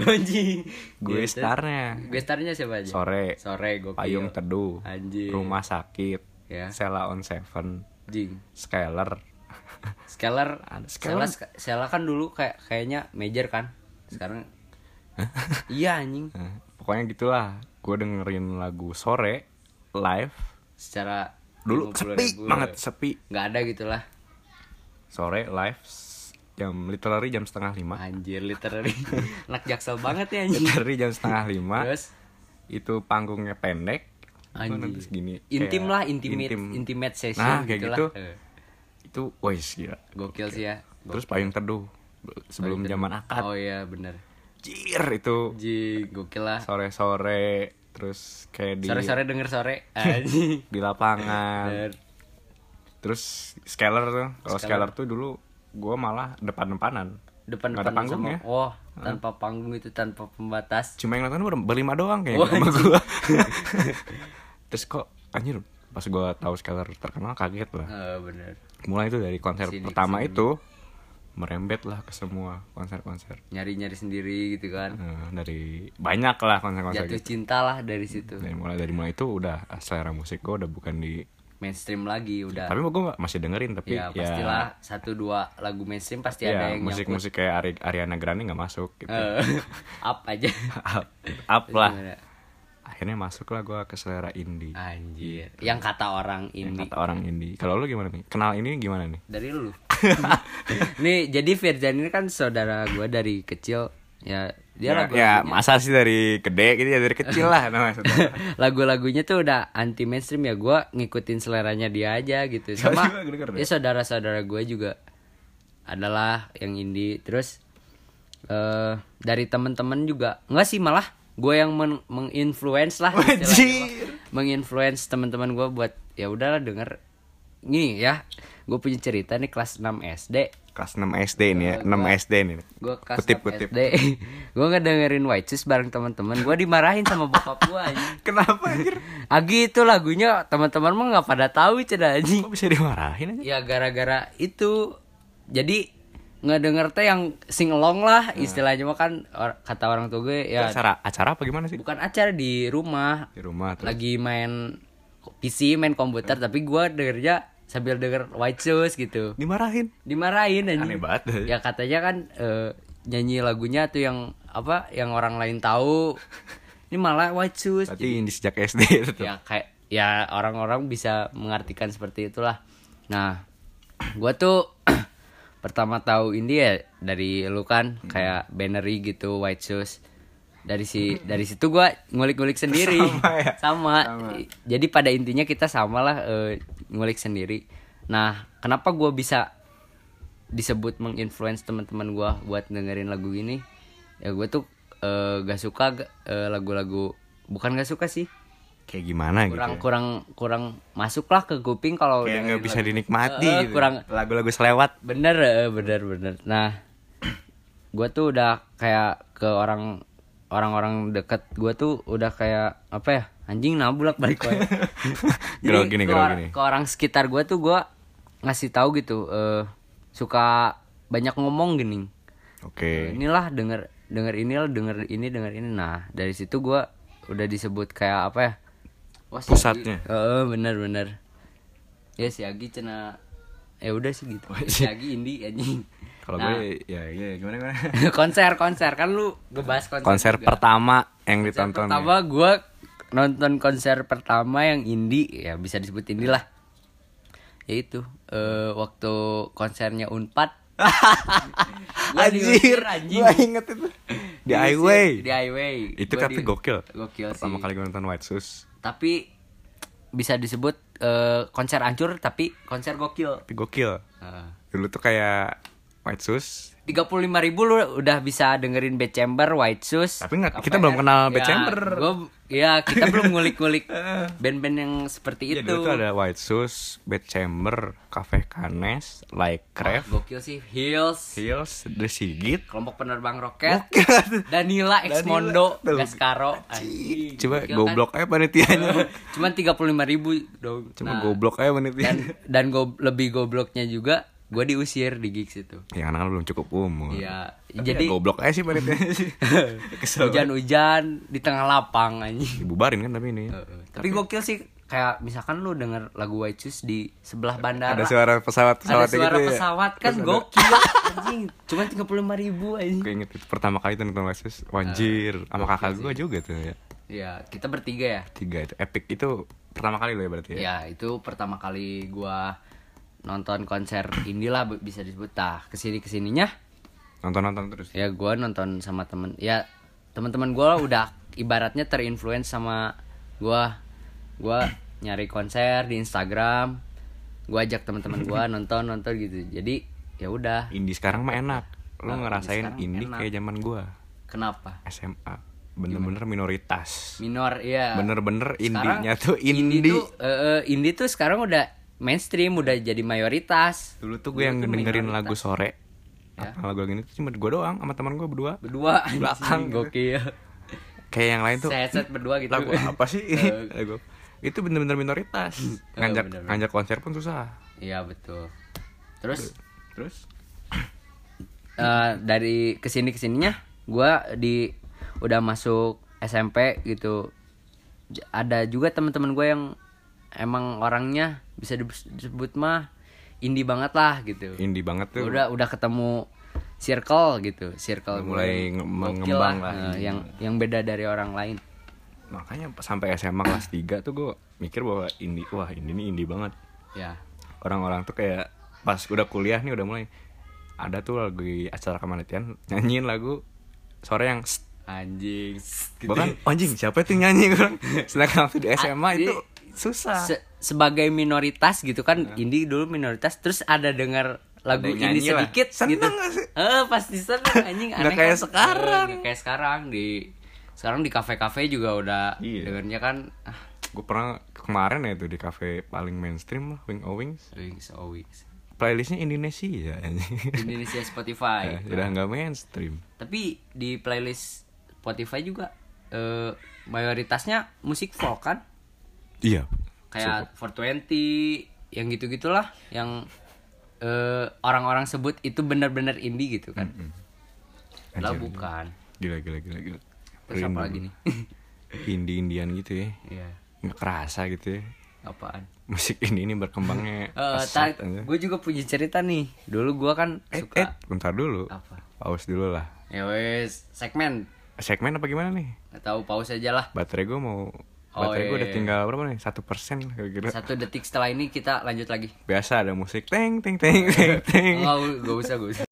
A: anjing
B: gue
A: Iya, terus-
B: starnya
A: gue startnya siapa aja
B: sore
A: sore gokil
B: payung teduh
A: Anjir.
B: rumah sakit
A: Ya.
B: Sela on Seven
A: Jing.
B: Scaler
A: Scalar,
B: Ada
A: Scalar, Scalar kan dulu kayak kayaknya major kan. Sekarang Iya anjing.
B: Nah, pokoknya gitulah gue dengerin lagu sore live
A: Secara
B: dulu
A: 50
B: sepi
A: ribu,
B: banget sepi
A: Nggak ada gitulah.
B: sore live s- jam literally jam setengah lima
A: Anjir literally. Anak jaksel banget ya anjing.
B: literally jam setengah lima
A: Terus
B: Iya, itu panggungnya pendek itu
A: Anjir.
B: nanti segini
A: intim
B: Kayak
A: lah, intimate,
B: intim.
A: intimate session
B: Nah, kayak
A: gitulah.
B: gitu.
A: Eh,
B: itu wes gila
A: Gokil sih ya.
B: terus payung teduh sebelum zaman akad
A: Oh iya bener
B: jir itu
A: Ji, gokil lah.
B: sore-sore terus kayak di
A: Sore-sore denger sore. Anjing.
B: di lapangan
A: Bener.
B: terus scaler tuh kalau scaler tuh dulu gue malah depan-depanan Nggak
A: Depan-depan
B: ada panggungnya
A: sama- Wah, tanpa panggung itu tanpa pembatas.
B: cuma yang nonton ber- berlima doang kayak sama gue terus kok anjir pas gue tahu scaler terkenal kaget lah
A: Eh, bener
B: mulai itu dari konser
A: Sini,
B: pertama itu merembet lah ke semua konser-konser
A: Nyari-nyari sendiri gitu kan.
B: Eh, dari banyak lah konser-konser
A: jatuh
B: gitu.
A: cinta lah dari situ
B: dari mulai dari mulai itu udah ah, selera musik gue udah bukan di
A: mainstream lagi udah
B: tapi gue masih dengerin tapi
A: ya
B: ya,
A: pastilah satu dua lagu mainstream pasti
B: ya,
A: ada yang
B: musik
A: nyangkut
B: musik kayak Ari- Ariana Grande nggak masuk gitu
A: Eh, up aja
B: up, up lah
A: Gimana?
B: akhirnya masuk lah gue ke selera indie
A: Ah, anjir yang kata orang
B: yang
A: ini
B: kata orang indie kalau lu gimana nih kenal ini gimana nih
A: dari lu Nih, jadi Firjan ini kan saudara gue dari kecil. Ya, dia
B: ya,
A: lagu
B: ya, masa sih dari gede gitu ya dari kecil lah namanya saudara.
A: lagu-lagunya tuh udah anti mainstream ya gue ngikutin seleranya dia aja gitu sama
B: juga denger deh.
A: ya saudara-saudara gue juga adalah yang indie terus eh dari temen-temen juga nggak sih malah gue yang men- menginfluence lah istilahnya,
B: Wajir.
A: Bang. menginfluence teman-teman gue buat ya udahlah denger gini ya gue punya cerita nih kelas 6 SD
B: Kelas 6 SD ini ya, 6 SD ini.
A: gue kelas 6
B: kutip kutip.
A: SD gue ngedengerin White Shoes bareng teman-teman gue dimarahin sama bokap gue anjing
B: Kenapa anjir?
A: Agi itu lagunya teman-teman mah nggak pada tahu ceda anjing.
B: Kok bisa dimarahin aja?
A: Ya gara-gara itu jadi nggak denger teh yang sing along lah istilahnya mah kan or- kata orang tua gue ya
B: Acara acara Hmm. apa gimana sih?
A: bukan acara di rumah
B: Di rumah tuh.
A: lagi main PC main komputer tapi gue dengernya sambil denger White Shoes gitu
B: Dimarahin.
A: dimarahin anjing.
B: Aneh banget.
A: Ya katanya kan eh, nyanyi lagunya tuh yang apa yang orang lain tahu. Ini malah White Shoes.
B: Berarti ini sejak SD tetap.
A: ya kayak ya orang-orang bisa mengartikan seperti itulah nah gua tuh pertama tahu ini ya dari lu kan
B: Hmm.
A: kayak bannery gitu white shoes dari si dari situ gua ngulik-ngulik sendiri
B: Sama ya?
A: Sama. I- jadi pada intinya kita samalah eh, ngulik sendiri nah kenapa gua bisa disebut menginfluence teman-teman gua buat dengerin lagu ini ya gue tuh eh, gak suka eh, lagu-lagu bukan gak suka sih
B: Kayak gimana gitu.
A: kurang
B: ya?
A: kurang kurang masuklah ke kuping kalau
B: Kayak
A: dengerin
B: nggak bisa
A: lagu.
B: dinikmati
A: Eh, eh,
B: gitu.
A: kurang
B: Lagu-lagu selewat.
A: bener eh, bener bener nah gue tuh udah kayak ke orang orang-orang deket gue tuh udah kayak apa ya anjing nabulak balik wae. Jadi
B: Grogi nih,
A: ke,
B: grogi
A: or-
B: nih.
A: ke orang sekitar gue tuh gue ngasih tahu gitu eh, suka banyak ngomong gini
B: Oke.
A: inilah denger denger inilah denger ini denger ini nah dari situ gua udah disebut kayak apa ya Wah, si Agi-
B: Pusatnya.
A: Heeh, bener bener ya si Agi cina ya udah sih gitu si Agi Indi anjing
B: Kalau
A: Nah,
B: gue ya, ya gimana gimana.
A: konser konser kan lu ngebahas konser
B: Konser
A: juga.
B: pertama yang
A: Konser
B: ditonton. ya.
A: pertama gua nonton konser pertama yang indie ya bisa disebut indie lah yaitu eh, waktu konsernya Unpad Gua
B: Anjir,
A: diusir, anjing.
B: Gua inget itu. Di
A: Diusir,
B: highway.
A: Iya di highway
B: Itu
A: Gua
B: tapi
A: di-
B: gokil.
A: gokil
B: Pertama
A: sih
B: kali gue nonton White Shoes,
A: tapi bisa disebut eh, konser ancur tapi konser gokil Eh,
B: tapi gokil. Dulu tuh kayak White Shoes,
A: tiga puluh lima ribu lu udah bisa dengerin Bad Chamber, White Shoes.
B: Tapi nggak- kita belum kenal Bad
A: Ya,
B: Chamber. Eh.
A: gua- ya kita belum ngulik-ngulik band-band yang seperti
B: Iya
A: itu.
B: dulu tuh ada White Shoes, Bad Chamber, Cafe Canes, Like Craft,
A: Gokil sih Hills,
B: Hills, The Sigit.
A: kelompok penerbang roket, Danila Exmondo,
B: Tuh.
A: Gaskaro. Anjing,
B: Coba
A: gokil
B: goblok aja panitianya.
A: kan? Cuman tiga puluh lima ribu dong.
B: Coba
A: Nah,
B: goblok aja
A: Dan
B: panitianya.
A: dan go- lebih gobloknya juga, gue diusir di gigs itu.
B: Ya karena kan belum cukup umur.
A: Iya,
B: Tapi
A: jadi
B: ya goblok aja sih panitianya sih. Kesel.
A: hujan-hujan di tengah lapang anjing.
B: Dibubarin kan tapi ini.
A: Tapi gokil sih kayak misalkan lu denger lagu White Shoes di sebelah bandara.
B: Ada suara
A: Ada
B: pesawat pesawat
A: suara
B: gitu ya.
A: pesawat kan
B: Terus ada-
A: gokil anjing. Cuman 35 ribu anjing.
B: Gue inget itu pertama kali tuh nonton White Shoes, Wanjir, sama
A: Iya
B: kakak gue juga tuh ya.
A: Ya, kita bertiga ya.
B: Tiga itu epic itu pertama kali lo ya berarti ya.
A: Ya, itu pertama kali gua nonton konser inilah bu- bisa disebut Nah, tah kesini kesininya
B: Nonton-nonton terus.
A: ya gua nonton sama temen ya teman-teman gua udah ibaratnya terinfluence sama gua gua nyari konser di Instagram gua ajak teman-teman gua nonton nonton gitu jadi ya udah
B: Indie sekarang mah enak. Lo
A: Nah,
B: ngerasain
A: indie
B: indie
A: sekarang
B: kayak zaman gua
A: Kenapa?
B: SMA. Bener-bener minoritas.
A: Minor ya.
B: Bener-bener
A: Sekarang
B: indinya Nah, tuh
A: Indie
B: indie.
A: tuh, eh, eh, indie tuh sekarang udah mainstream, udah jadi mayoritas.
B: Dulu tuh gue yang dengerin lagu sore. Apa lagu gini tuh cuma gue doang sama teman gue berdua.
A: Berdua anjing,
B: Belakang.
A: gokil.
B: Kayak yang lain gitu. tuh
A: Set-set berdua gitu.
B: lagu apa sih ini? Lagu Hmm. Oh, itu bener-bener minoritas. Ngajak
A: bener-bener.
B: ngajak konser pun susah.
A: Iya, betul. Terus
B: Terus
A: eh, dari kesini kesininya gua di udah masuk SMP gitu. J- Ada juga teman-teman gue yang emang orangnya bisa disebut mah indie banget lah gitu.
B: indie banget tuh.
A: udah udah ketemu circle gitu circle
B: Udah mulai
A: gua.
B: nge-
A: Gokil
B: mengembang lah.
A: eh, yang yang beda dari orang lain
B: Makanya sampai SMA kelas 3 tuh gue mikir bahwa indie wah indie nih indie banget.
A: ya
B: orang-orang tuh kayak pas udah kuliah nih udah mulai ada tuh lagu di acara kemanitian nyanyiin lagu sore yang "Sst."
A: anjing gitu.
B: bahkan "Oh, anjing siapa itu yang nyanyi kurang sedangkan waktu di SMA
A: Ah,
B: itu
A: jadi-
B: susah
A: Se- sebagai minoritas gitu kan indie dulu minoritas terus ada dengar lagu
B: Ada
A: ini
B: nyanyi lah.
A: sedikit
B: Seneng
A: gitu.
B: gak sih?
A: Eh, pasti seneng anjing
B: Nggak
A: aneh
B: kayak
A: kan? Eh,
B: sekarang.
A: nggak kayak sekarang di sekarang di kafe-kafe juga udah
B: Iya.
A: dengernya kan ah,
B: gue pernah kemarin ya itu di cafe paling mainstream lah Wing O Wings
A: Wings oh Wings.
B: playlistnya Indonesia anjing.
A: Indonesia Spotify.
B: Ya, udah nggak mainstream
A: Tapi di playlist Spotify juga eh, mayoritasnya musik folk kan?
B: iya
A: Kayak 420 yang gitu-gitulah yang eh, orang-orang sebut itu benar-benar indie gitu kan. Lah
B: Anjir.
A: bukan.
B: gila gila gila gila
A: Terus apa lagi nih?
B: indie indian gitu ya
A: Iya.
B: nggak kerasa gitu ya
A: Apaan?
B: musik ini ini berkembangnya
A: Eh,
B: pesat aja.
A: gue juga punya cerita nih. Dulu gua kan
B: eh,
A: suka
B: eh bentar dulu
A: Apa?
B: pause dulu lah
A: Ya wes, segmen
B: segmen apa gimana nih
A: atau pause aja lah.
B: baterai gue mau
A: Oh,
B: baterai gue
A: iya,
B: udah
A: iya.
B: tinggal berapa nih satu persen lah kira-kira
A: Satu detik setelah ini kita lanjut lagi.
B: biasa ada musik teng teng teng teng teng
A: Enggak, gak usah, gak usah.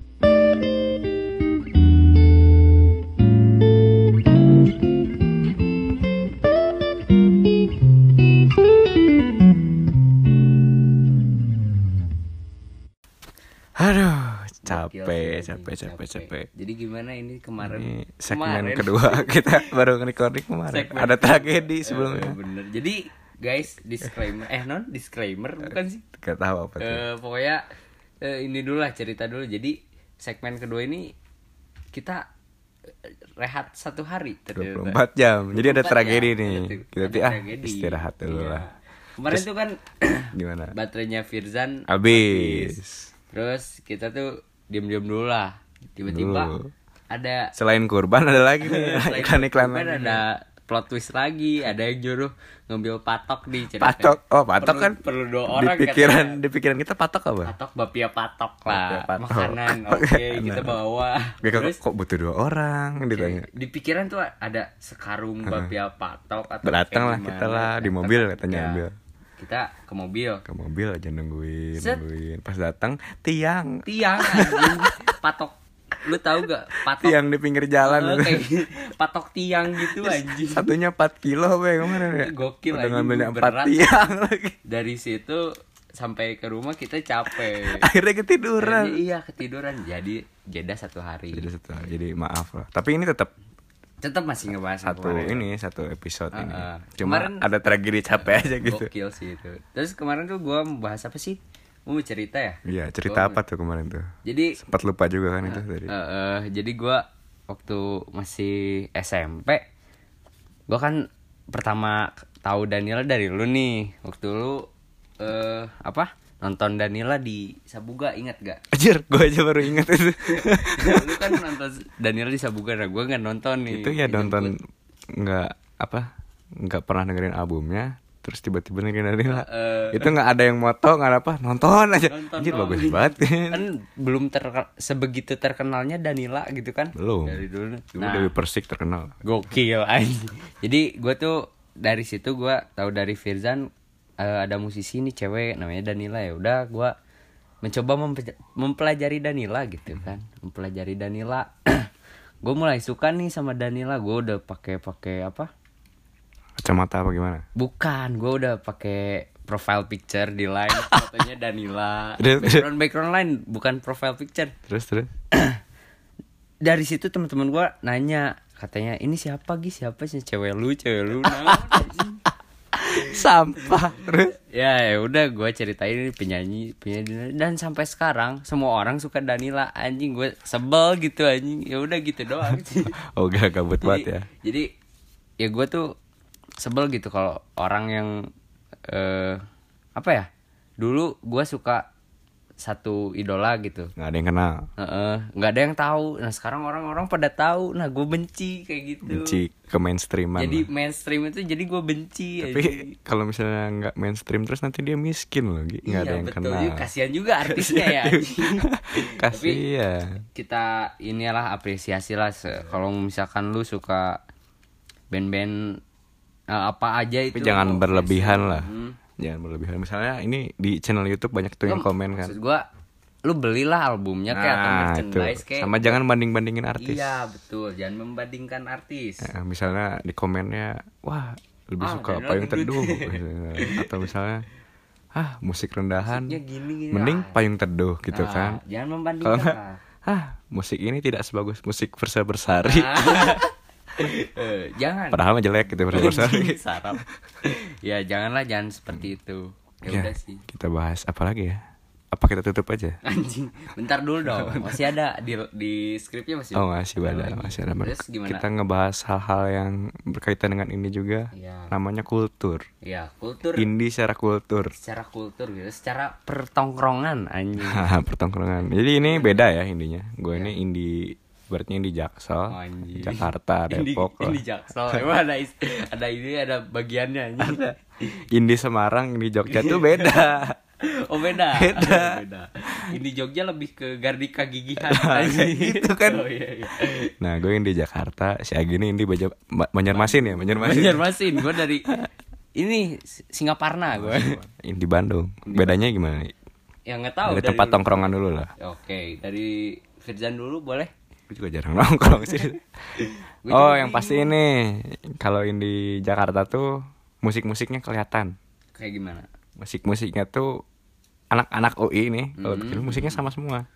B: aduh capek
A: Gokil sih,
B: capek
A: anjing.
B: capek capek
A: Jadi gimana ini kemarin?
B: ini segmen
A: Kemarin.
B: kedua kita baru recording kemarin
A: Segmen.
B: ada tragedi
A: Eh,
B: sebelumnya
A: bener. Jadi guys, disclaimer eh non disclaimer bukan sih?
B: gak tahu apa tuh
A: Eh, pokoknya eh, ini dulu lah cerita dulu. Jadi segmen kedua ini kita eh, rehat satu hari ternyata.
B: 24 jam. Jadi ada
A: 24
B: tragedi
A: ya,
B: nih.
A: ada tu-
B: Kita
A: ada
B: ti- ah,
A: tragedi.
B: istirahat dulu
A: Iya.
B: lah.
A: Kemarin tuh kan
B: Gimana?
A: baterainya Firzan
B: Habis.
A: terus kita tuh diam-diam dulu lah. Tiba-tiba
B: Dulu.
A: ada
B: Selain kurban ada lagi nih
A: Selain
B: iklan-iklan
A: dokumen, kan
B: lagi.
A: ada plot twist lagi ada yang nyuruh ngambil patok di cerita.
B: Patok. Oh, patok
A: Iya, Perlu-
B: kan.
A: perlu dua orang
B: Di pikiran
A: katanya.
B: di pikiran kita patok apa?
A: patok bapia patok
B: Bapia
A: lah
B: patok.
A: makanan oke kita bawa
B: Gak kok,
A: terus
B: kok butuh dua orang ditanya.
A: di pikiran tuh ada sekarung bapia patok atau
B: Datang
A: kayak
B: lah
A: gimana.
B: kita lah, di
A: Datang.
B: mobil katanya
A: Ya,
B: ambil.
A: kita ke mobil
B: Ke mobil aja nungguin,
A: Set.
B: nungguin. Pas datang tiang.
A: tiang anjing. patok lu tahu gak patok
B: Tiang di pinggir jalan.
A: eh, kayak patok tiang gitu anjing
B: Satunya 4 kilo apa ya kemarin ya?
A: Itu gokil,
B: Udah
A: anjing.
B: ngambilnya 4
A: Berat.
B: tiang lagi.
A: dari situ sampai ke rumah kita capek
B: Akhirnya ketiduran.
A: Jadi, iya ketiduran jadi jeda satu hari
B: Jadi setelah, jadi maaf lah. Tapi ini tetap
A: tetap masih ngebahas yang
B: satu
A: kemarin. ya?
B: ini satu episode ini.
A: Heeh.
B: Cuma
A: Kemarin-
B: ada tragedi capek aja gitu.
A: Gokil sih itu. Terus kemarin tuh gua membahas apa sih? Gua Mau cerita ya?
B: Iya, cerita apa tuh kemarin tuh?
A: Jadi
B: Sempat lupa juga kan itu tadi.
A: eh, eh, jadi gua waktu masih SMP gua kan pertama tahu Danila dari lu nih. Waktu lu eh apa? Nonton Danila di Sabuga ingat gak?
B: Anjir, gue aja baru ingat itu.
A: lu kan nonton Danila di Sabuga, nah gua nggak nonton nih.
B: itu ya
A: Dijemput.
B: nonton nggak apa? nggak pernah dengerin albumnya terus tiba-tiba dengerin Danila. itu nggak ada yang moto nggak ada apa nonton aja
A: Eh, Nonton
B: anjir
A: doang.
B: bagus banget
A: kan belum terke- sebegitu terkenalnya Danila gitu kan
B: belum
A: dari dulu Nah,
B: dulu Dewi Persik terkenal
A: Gokil anjing. Jadi gue tuh dari situ gue tahu dari Firzan eh, ada musisi nih cewek namanya Danila ya. Udah gue mencoba mempe- mempelajari Danila gitu kan. Mempelajari Danila. gue mulai suka nih sama Danila. Gue udah pakai pakai apa?
B: kacamata apa gimana
A: Bukan, gue udah pakai profile picture di line fotonya Danila.
B: Terus-
A: background background line bukan profile picture
B: terus terus
A: dari situ teman-teman gua nanya katanya ini siapa Gi siapa sih cewek lu cewek lu Nah,
B: sampah terus
A: ya ya udah gua ceritain ini penyanyi penyanyi dan sampai sekarang semua orang suka Danila anjing gue sebel gitu anjing ya udah gitu doang sih
B: oh gak gabut banget ya
A: jadi ya gue tuh sebel gitu kalau orang yang eh apa ya dulu gua suka satu idola gitu
B: nggak ada yang kenal
A: Heeh, nggak ada yang tahu. Nah sekarang orang-orang pada tahu. Nah gue benci kayak gitu.
B: benci ke mainstreaman
A: Jadi iya,
B: lah.
A: mainstream itu jadi gue benci.
B: tapi kalau misalnya nggak mainstream terus nanti dia miskin loh Gi. nggak ada yang
A: Iya, betul.
B: kenal
A: Juga, kasihan juga artisnya ya.
B: kasih ya
A: Kita inilah apresiasi lah. se- Kalau misalkan lu suka band-band eh, apa aja itu.
B: tapi
A: Hmm.
B: jangan
A: lu-
B: berlebihan lah jangan berlebihan misalnya ini di channel YouTube banyak tuh yang komen kan Nah,
A: Maksud gue lu belilah albumnya Oh, kayak atau merchandise kayak gitu.
B: sama jangan banding bandingin artis
A: iya betul jangan membandingkan artis
B: Eh, misalnya di komennya wah lebih
A: Ah, gitu.
B: suka
A: Daniel
B: payung
A: Gendut.
B: teduh atau misalnya ah musik rendahan
A: Musiknya gini, gini,
B: mending
A: ah.
B: payung teduh gitu
A: Nah,
B: kan
A: jangan
B: kalau
A: membandingkan
B: nggak,
A: lah. Nah,
B: ah musik ini tidak sebagus musik versa bersari
A: Eh, jangan
B: padahal mah jelek gitu versa bersari
A: Anjing, sarap. ya janganlah jangan seperti itu ya,
B: Ya,
A: udah sih
B: kita bahas apa lagi ya apa kita tutup aja
A: anjing bentar dulu dong masih ada di di skripnya masih
B: oh masih ada
A: lagi.
B: masih ada
A: terus gimana
B: kita ngebahas hal-hal yang berkaitan dengan ini juga
A: Iya.
B: namanya kultur
A: ya kultur
B: indie secara kultur
A: secara kultur gitu secara pertongkrongan anjing
B: Haha, pertongkrongan. Jadi ini beda ya indinya. Gue
A: Iya.
B: ini indie berarti indie Jaksel,
A: Oh, Anjing.
B: Jakarta,
A: ini
B: Depok. lah.
A: ini jaksel emang ada is- ada ini ada bagiannya anjing
B: Indie Semarang, indie Jogja tuh beda.
A: oh beda
B: Beda.
A: beda ini Jogja lebih ke Gardika gigihan
B: Nah,
A: anjing.
B: kayak gitu kan.
A: oh, iya, iya.
B: Nah, gue indie Jakarta, si Agi ini indie Baja- Ma- Banjarmasin ya, Banjarmasin.
A: Banjarmasin gue dari ini S- Singaparna gue
B: Indie Bandung. Bedanya gimana? nih?
A: yang Ya, nggak tahu
B: Dari
A: dari
B: tempat tongkrongan dulu lah.
A: oke dari Firjan dulu boleh
B: Gue juga jarang nongkrong sih.
A: Gue
B: oh,
A: juga
B: yang pasti ini kalau indie Jakarta tuh musik-musiknya kelihatan.
A: kayak gimana
B: musik-musiknya tuh anak-anak UI nih kalau
A: Hmm.
B: bikin musiknya sama semua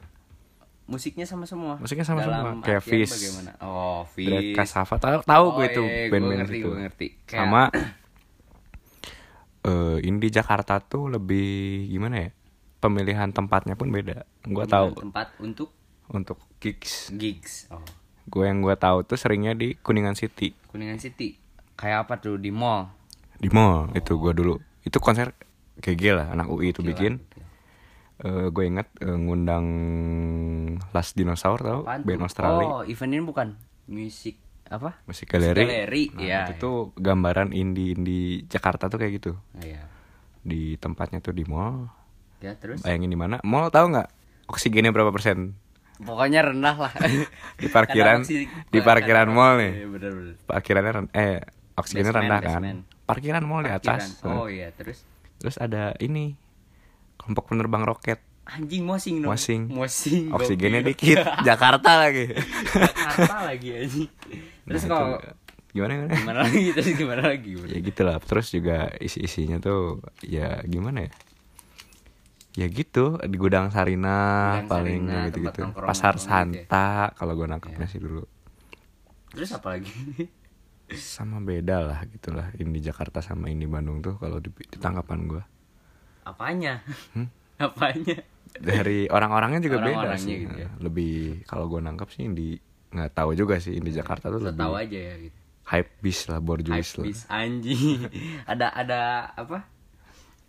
A: musiknya sama semua
B: Musiknya sama
A: Dalam
B: semua. Kayak
A: artian
B: Fizz.
A: bagaimana oh
B: Dread
A: Fizz
B: Kasava tahu tahu gue
A: Oh,
B: itu
A: iya, iya, gue
B: band-band
A: ngerti,
B: itu
A: gue ngerti. Kayak-
B: sama eh indie Jakarta tuh lebih gimana ya pemilihan tempatnya pun beda gue tahu
A: tempat untuk
B: untuk gigs
A: gigs oh
B: gue yang gue tahu tuh seringnya di Kuningan City
A: kuningan city kayak apa tuh di mall
B: di mall itu gue dulu itu konser GG lah anak UI itu bikin
A: iya.
B: Eh gue inget eh, ngundang Last Dinosaur tau
A: Apaan
B: band
A: tuh?
B: Australia
A: oh event ini bukan musik apa
B: musik galeri.
A: galeri,
B: Nah,
A: iya,
B: itu
A: iya.
B: tuh gambaran indie indie Jakarta tuh kayak gitu.
A: nah, ya
B: Di tempatnya tuh di mall.
A: ya terus
B: Bayangin di mana? Mall tahu nggak? Oksigennya berapa persen?
A: pokoknya rendah lah
B: Di parkiran-
A: Kadang sih-
B: di parkiran
A: kadang-
B: mall nih.
A: Iya, bener, bener.
B: Parkirannya ren- eh oksigennya
A: Basement,
B: rendah kan.
A: basement.
B: Parkiran mall di atas.
A: Parkiran. oh iya terus
B: Terus ada ini kelompok penerbang roket.
A: anjing mosing dong
B: Mosing.
A: mosing
B: Oksigennya
A: gokil.
B: dikit. Jakarta lagi.
A: Jakarta lagi anjing terus
B: Nah,
A: kalau
B: itu- gimana gimana?
A: gimana lagi terus gimana lagi
B: ya gitulah terus juga isi isinya tuh ya gimana ya ya gitu di gudang Sarina
A: Gudang
B: paling
A: Sarina,
B: gitu gitu
A: tempat nongkrong-
B: pasar
A: nongkrong gitu ya. Iya.
B: Santa kalau gue nangkepnya sih dulu
A: terus apa lagi
B: sama beda lah gitulah ini Jakarta sama ini Bandung tuh kalau di, di tangkapan gue
A: apanya
B: Hmm?
A: apanya
B: dari orang-orangnya juga beda
A: Orang-orangnya
B: sih Nah,
A: gitu ya.
B: lebih kalau gue nangkep sih di nggak tahu juga sih di Jakarta tuh
A: Lo
B: lebih
A: tahu aja ya gitu
B: hype bis lah borjuis lah
A: Hypebeast anjing ada ada apa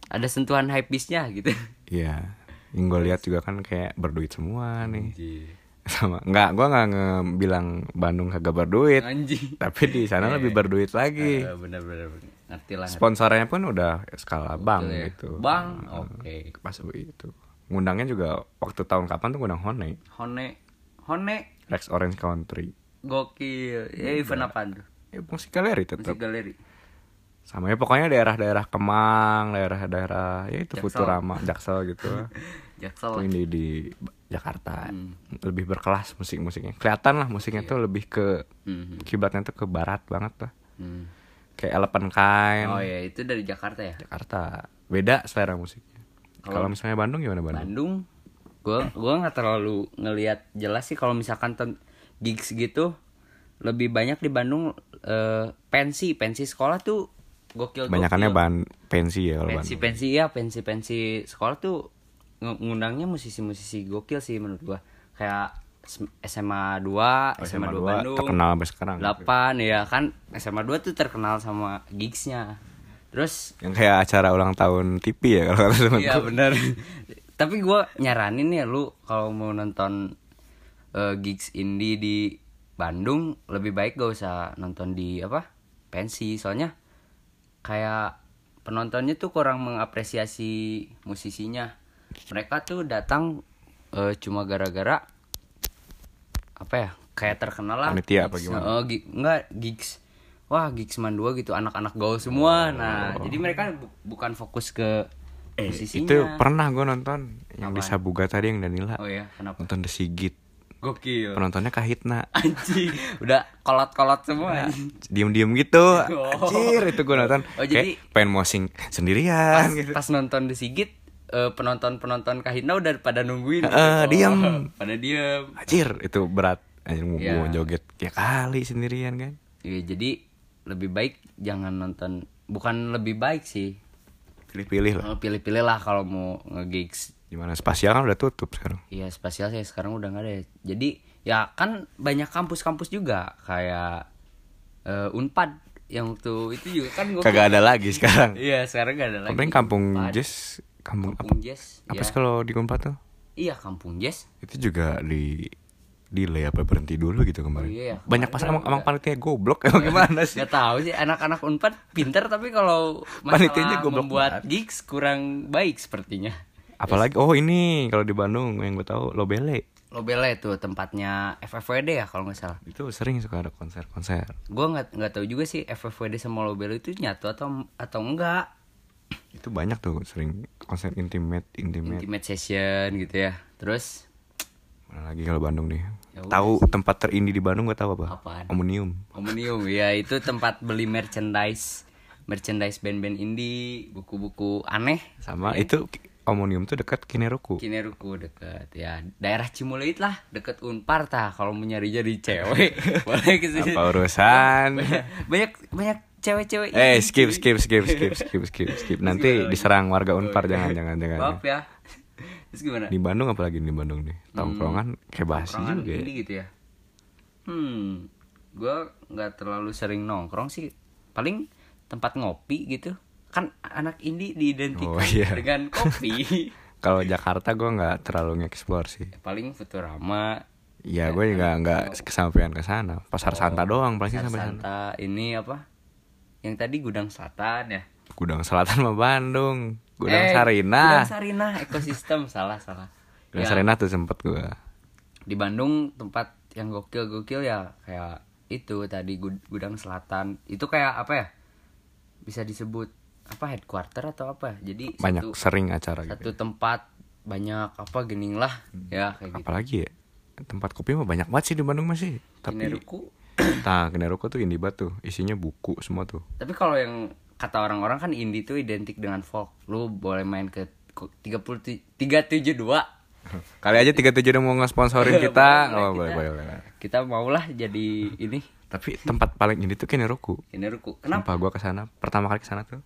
A: ada sentuhan hypebeastnya gitu
B: iya yang gue lihat juga kan kayak berduit semua nih
A: anjing
B: sama nggak gua nggak nge- bilang Bandung kagak berduit
A: anjing
B: tapi di sana lebih berduit lagi
A: Eh, bener bener bener. ngerti lah ngerti.
B: sponsornya pun udah skala bank
A: Betul ya.
B: gitu
A: bang oke
B: pas itu ngundangnya juga waktu tahun kapan tuh ngundang Hone
A: hone hone
B: Rex Orange Country
A: gokil ya event apaan tuh
B: ya musik galeri
A: musik
B: tetap
A: galeri
B: sama ya pokoknya daerah-daerah Kemang daerah-daerah ya
A: Jaksel.
B: itu Futurama Jaksel gitu
A: jaksel
B: Itu
A: lah.
B: ini di Jakarta
A: Hmm.
B: lebih berkelas musik-musiknya kelihatan lah musiknya tuh lebih ke
A: Iya. Hmm,
B: kiblatnya tuh ke barat banget lah
A: hmm.
B: kayak Elephant Kind
A: oh ya itu dari Jakarta ya
B: Jakarta beda selera musiknya kalau misalnya Bandung gimana Bandung
A: Bandung gua gua nggak terlalu ngelihat jelas sih kalau misalkan ten- gigs gitu lebih banyak di Bandung eh, pensi pensi sekolah tuh gokil
B: banyakannya
A: gokil.
B: ban pensi ya kalau
A: iya. pensi
B: Bandung
A: pensi ya pensi pensi sekolah tuh nge- ngundangnya musisi-musisi gokil sih menurut gua kayak S- SMA 2 SMA 2
B: dua
A: Bandung
B: terkenal sampai sekarang
A: 8 ya kan SMA 2 tuh terkenal sama gigsnya terus
B: yang kayak acara ulang tahun TV ya kalau kata temen
A: Iya benar. Tapi gua nyaranin ya lu kalau mau nonton eh, gigs indie di Bandung lebih baik gak usah nonton di apa pensi soalnya kayak penontonnya tuh kurang mengapresiasi musisinya. Mereka tuh datang eh, cuma gara-gara apa ya kayak terkenal lah
B: Panitia apa
A: Gigs.
B: gimana?
A: Eh, gi- enggak gigs wah gigs mandua gitu anak-anak gaul semua nah jadi mereka bu- bukan fokus ke posisinya.
B: Oh. Eh, Itu pernah gue nonton yang di
A: Apaan?
B: Sabuga tadi yang Danila.
A: Oh ya, kenapa?
B: Nonton The Sigit.
A: Gokil.
B: Penontonnya Kahitna.
A: Anjing, udah kolot-kolot
B: Nah,
A: semua. anjing.
B: Diem-diem gitu. Anjir, itu gue nonton.
A: Oh, jadi-
B: Kayak pengen mosing
A: Pas,
B: sendirian gitu.
A: pas nonton The Sigit, eh, penonton-penonton Kahitna udah pada nungguin.
B: Heeh, diam.
A: Pada diam.
B: Anjir, itu berat. Anjir, mau
A: Ya.
B: mau joget ya kali sendirian kan.
A: Ya, jadi lebih baik jangan nonton. Bukan lebih baik sih.
B: Pilih-pilih lah.
A: Pilih-pilih lah kalau mau nge-gigs
B: Gimana spasial kan udah tutup sekarang.
A: Iya spasial sih sekarang udah nggak ada. ya. Jadi ya kan banyak kampus-kampus juga kayak eh, Unpad yang waktu itu juga kan gue.
B: Kagak ada lagi sekarang.
A: Iya sekarang gak ada lagi.
B: Kemarin kampung
A: Unpad.
B: jazz, kampung,
A: Kampung
B: apa?
A: Jazz.
B: Apa
A: ya.
B: sih kalau di Unpad tuh?
A: Iya kampung Jazz.
B: Itu juga di delay apa berhenti dulu gitu kemarin.
A: iya ya,
B: Banyak pas emang, emang panitia goblok emang gimana sih?
A: Gak tahu sih anak-anak Unpad pinter tapi kalau masalah
B: Panitianya goblok
A: membuat gigs kurang baik sepertinya.
B: Apalagi oh ini kalau di Bandung yang gue tahu Lobele
A: Lobele tuh tempatnya FFWD ya kalau nggak salah.
B: itu sering suka ada konser-konser.
A: Gue nggak nggak tahu juga sih FFWD sama Lobele itu nyatu atau atau enggak.
B: Itu banyak tuh sering konser intimate intimate.
A: intimate session gitu ya terus
B: Mana lagi kalau Bandung nih?
A: Ya udah
B: tahu tempat terindi di Bandung gak tahu apa?
A: Apaan?
B: Omnium.
A: Omnium ya itu tempat beli merchandise merchandise band-band indie buku-buku aneh
B: Sama
A: Iya.
B: itu Omnium tuh dekat Kineruku.
A: Kineruku deket ya daerah Cimuleuit lah deket Unpar tah kalau mau nyari jadi cewek boleh ke sini
B: Apa urusan?
A: banyak banyak cewek-cewek
B: eh skip skip skip skip skip skip skip nanti diserang warga Unpar jangan jangan jangan.
A: Oh, iya. maaf Hmm, ya terus gimana
B: Di Bandung apalagi di Bandung nih tongkrongan kayak basi
A: Nongkrongan
B: juga. ya.
A: indie gitu ya hmm gue nggak terlalu sering nongkrong sih paling tempat ngopi gitu kan anak indie diidentikan
B: Oh, iya.
A: dengan kopi
B: Kalau
A: Iya.
B: Jakarta gue nggak terlalu nge-explore sih.
A: Ya, paling Futurama
B: Ya
A: Iya,
B: gue juga nggak kesampaian ke sana. Pasar Santa doang paling sih
A: Sar
B: sampai sana.
A: Oh, Santa ini apa yang tadi Gudang Selatan ya
B: Gudang Selatan sama Bandung. Gudang
A: Eh,
B: Sarinah
A: Gudang Sarinah ekosistem salah salah
B: Gudang
A: Ya,
B: Sarinah tuh sempet gue.
A: di Bandung tempat yang gokil-gokil ya kayak itu tadi Gud- Gudang Selatan itu kayak apa ya bisa disebut apa headquarter atau apa jadi satu,
B: Banyak sering acara gitu.
A: satu tempat banyak apa gening lah
B: Hmm.
A: ya kayak gitu
B: Apalagi ya tempat kopi mah banyak banget sih di Bandung masih. Tapi
A: Kineruku.
B: Nah, Kineruko tuh indie banget tuh. Isinya buku semua tuh.
A: tapi kalau yang kata orang-orang kan indie tuh identik dengan folk lu boleh main ke ku- 30 372
B: Kali aja 37 udah mau nge-sponsorin kita.
A: Boleh,
B: Oh,
A: kita-
B: boleh, boleh, boleh.
A: kita maulah jadi ini
B: Tapi tempat paling indie tuh Kineruko.
A: Kineruku kenapa
B: Kenapa gua ke sana? Pertama kali ke sana tuh.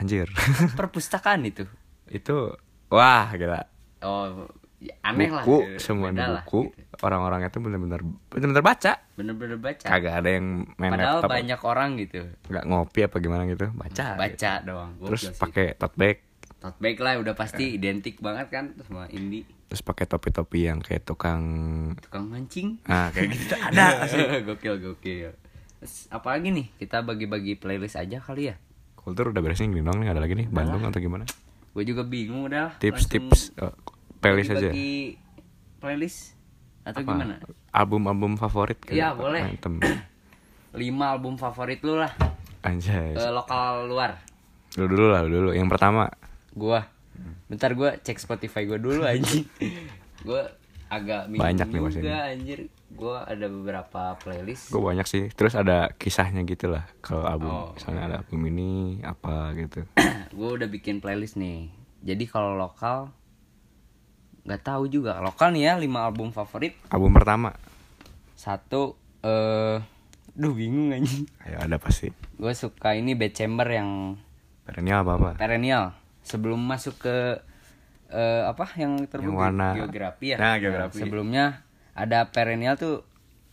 B: Anjir.
A: perpustakaan itu
B: itu wah gila.
A: oh ya aneh lah eh, beda
B: buku semuanya
A: lah
B: buku
A: gitu.
B: orang-orangnya tuh bener-bener bener-bener baca
A: bener-bener baca
B: kagak ada yang main
A: padahal
B: laptop
A: banyak orang gitu
B: nggak ngopi apa gimana gitu baca
A: baca doang Gokil
B: terus
A: sih.
B: pakai tote bag
A: tote bag lah udah pasti identik banget kan sama indie
B: terus pakai topi-topi yang kayak tukang
A: tukang mancing
B: nah kayak gitu
A: ada gokil gokil Terus, apalagi nih kita bagi-bagi playlist aja kali ya
B: kultur udah beresnya gini doang nih nggak ada lagi nih Bandung atau gimana
A: gue juga bingung udah lah.
B: tips
A: Langsung
B: tips eh, playlist aja
A: bagi-bagi playlist atau
B: Apa?
A: gimana
B: album-album favorit
A: Iya,
B: apa?
A: boleh.
B: Anthem.
A: lima album favorit lu lah
B: anjay
A: eh, lokal luar
B: dulu dulu lah dulu yang pertama
A: gua bentar gua cek Spotify gua dulu anjing gua agak bingung
B: Banyak nih, Mas,
A: juga anjir gua ada beberapa playlist
B: gue banyak sih terus ada kisahnya gitu lah kalau album
A: Oh.
B: misalnya ada album ini apa gitu
A: gua udah bikin playlist nih jadi kalau lokal nggak tahu juga lokal nih ya lima album favorit
B: album pertama
A: satu eh duh bingung anjing
B: Ayo ada pasti.
A: gua suka ini Bad Chamber yang
B: Perennial apa apa?
A: perennial sebelum masuk ke eh, apa yang terbukti
B: Yang warna-
A: geografi ya
B: Nah, geografi.
A: sebelumnya ada perennial tuh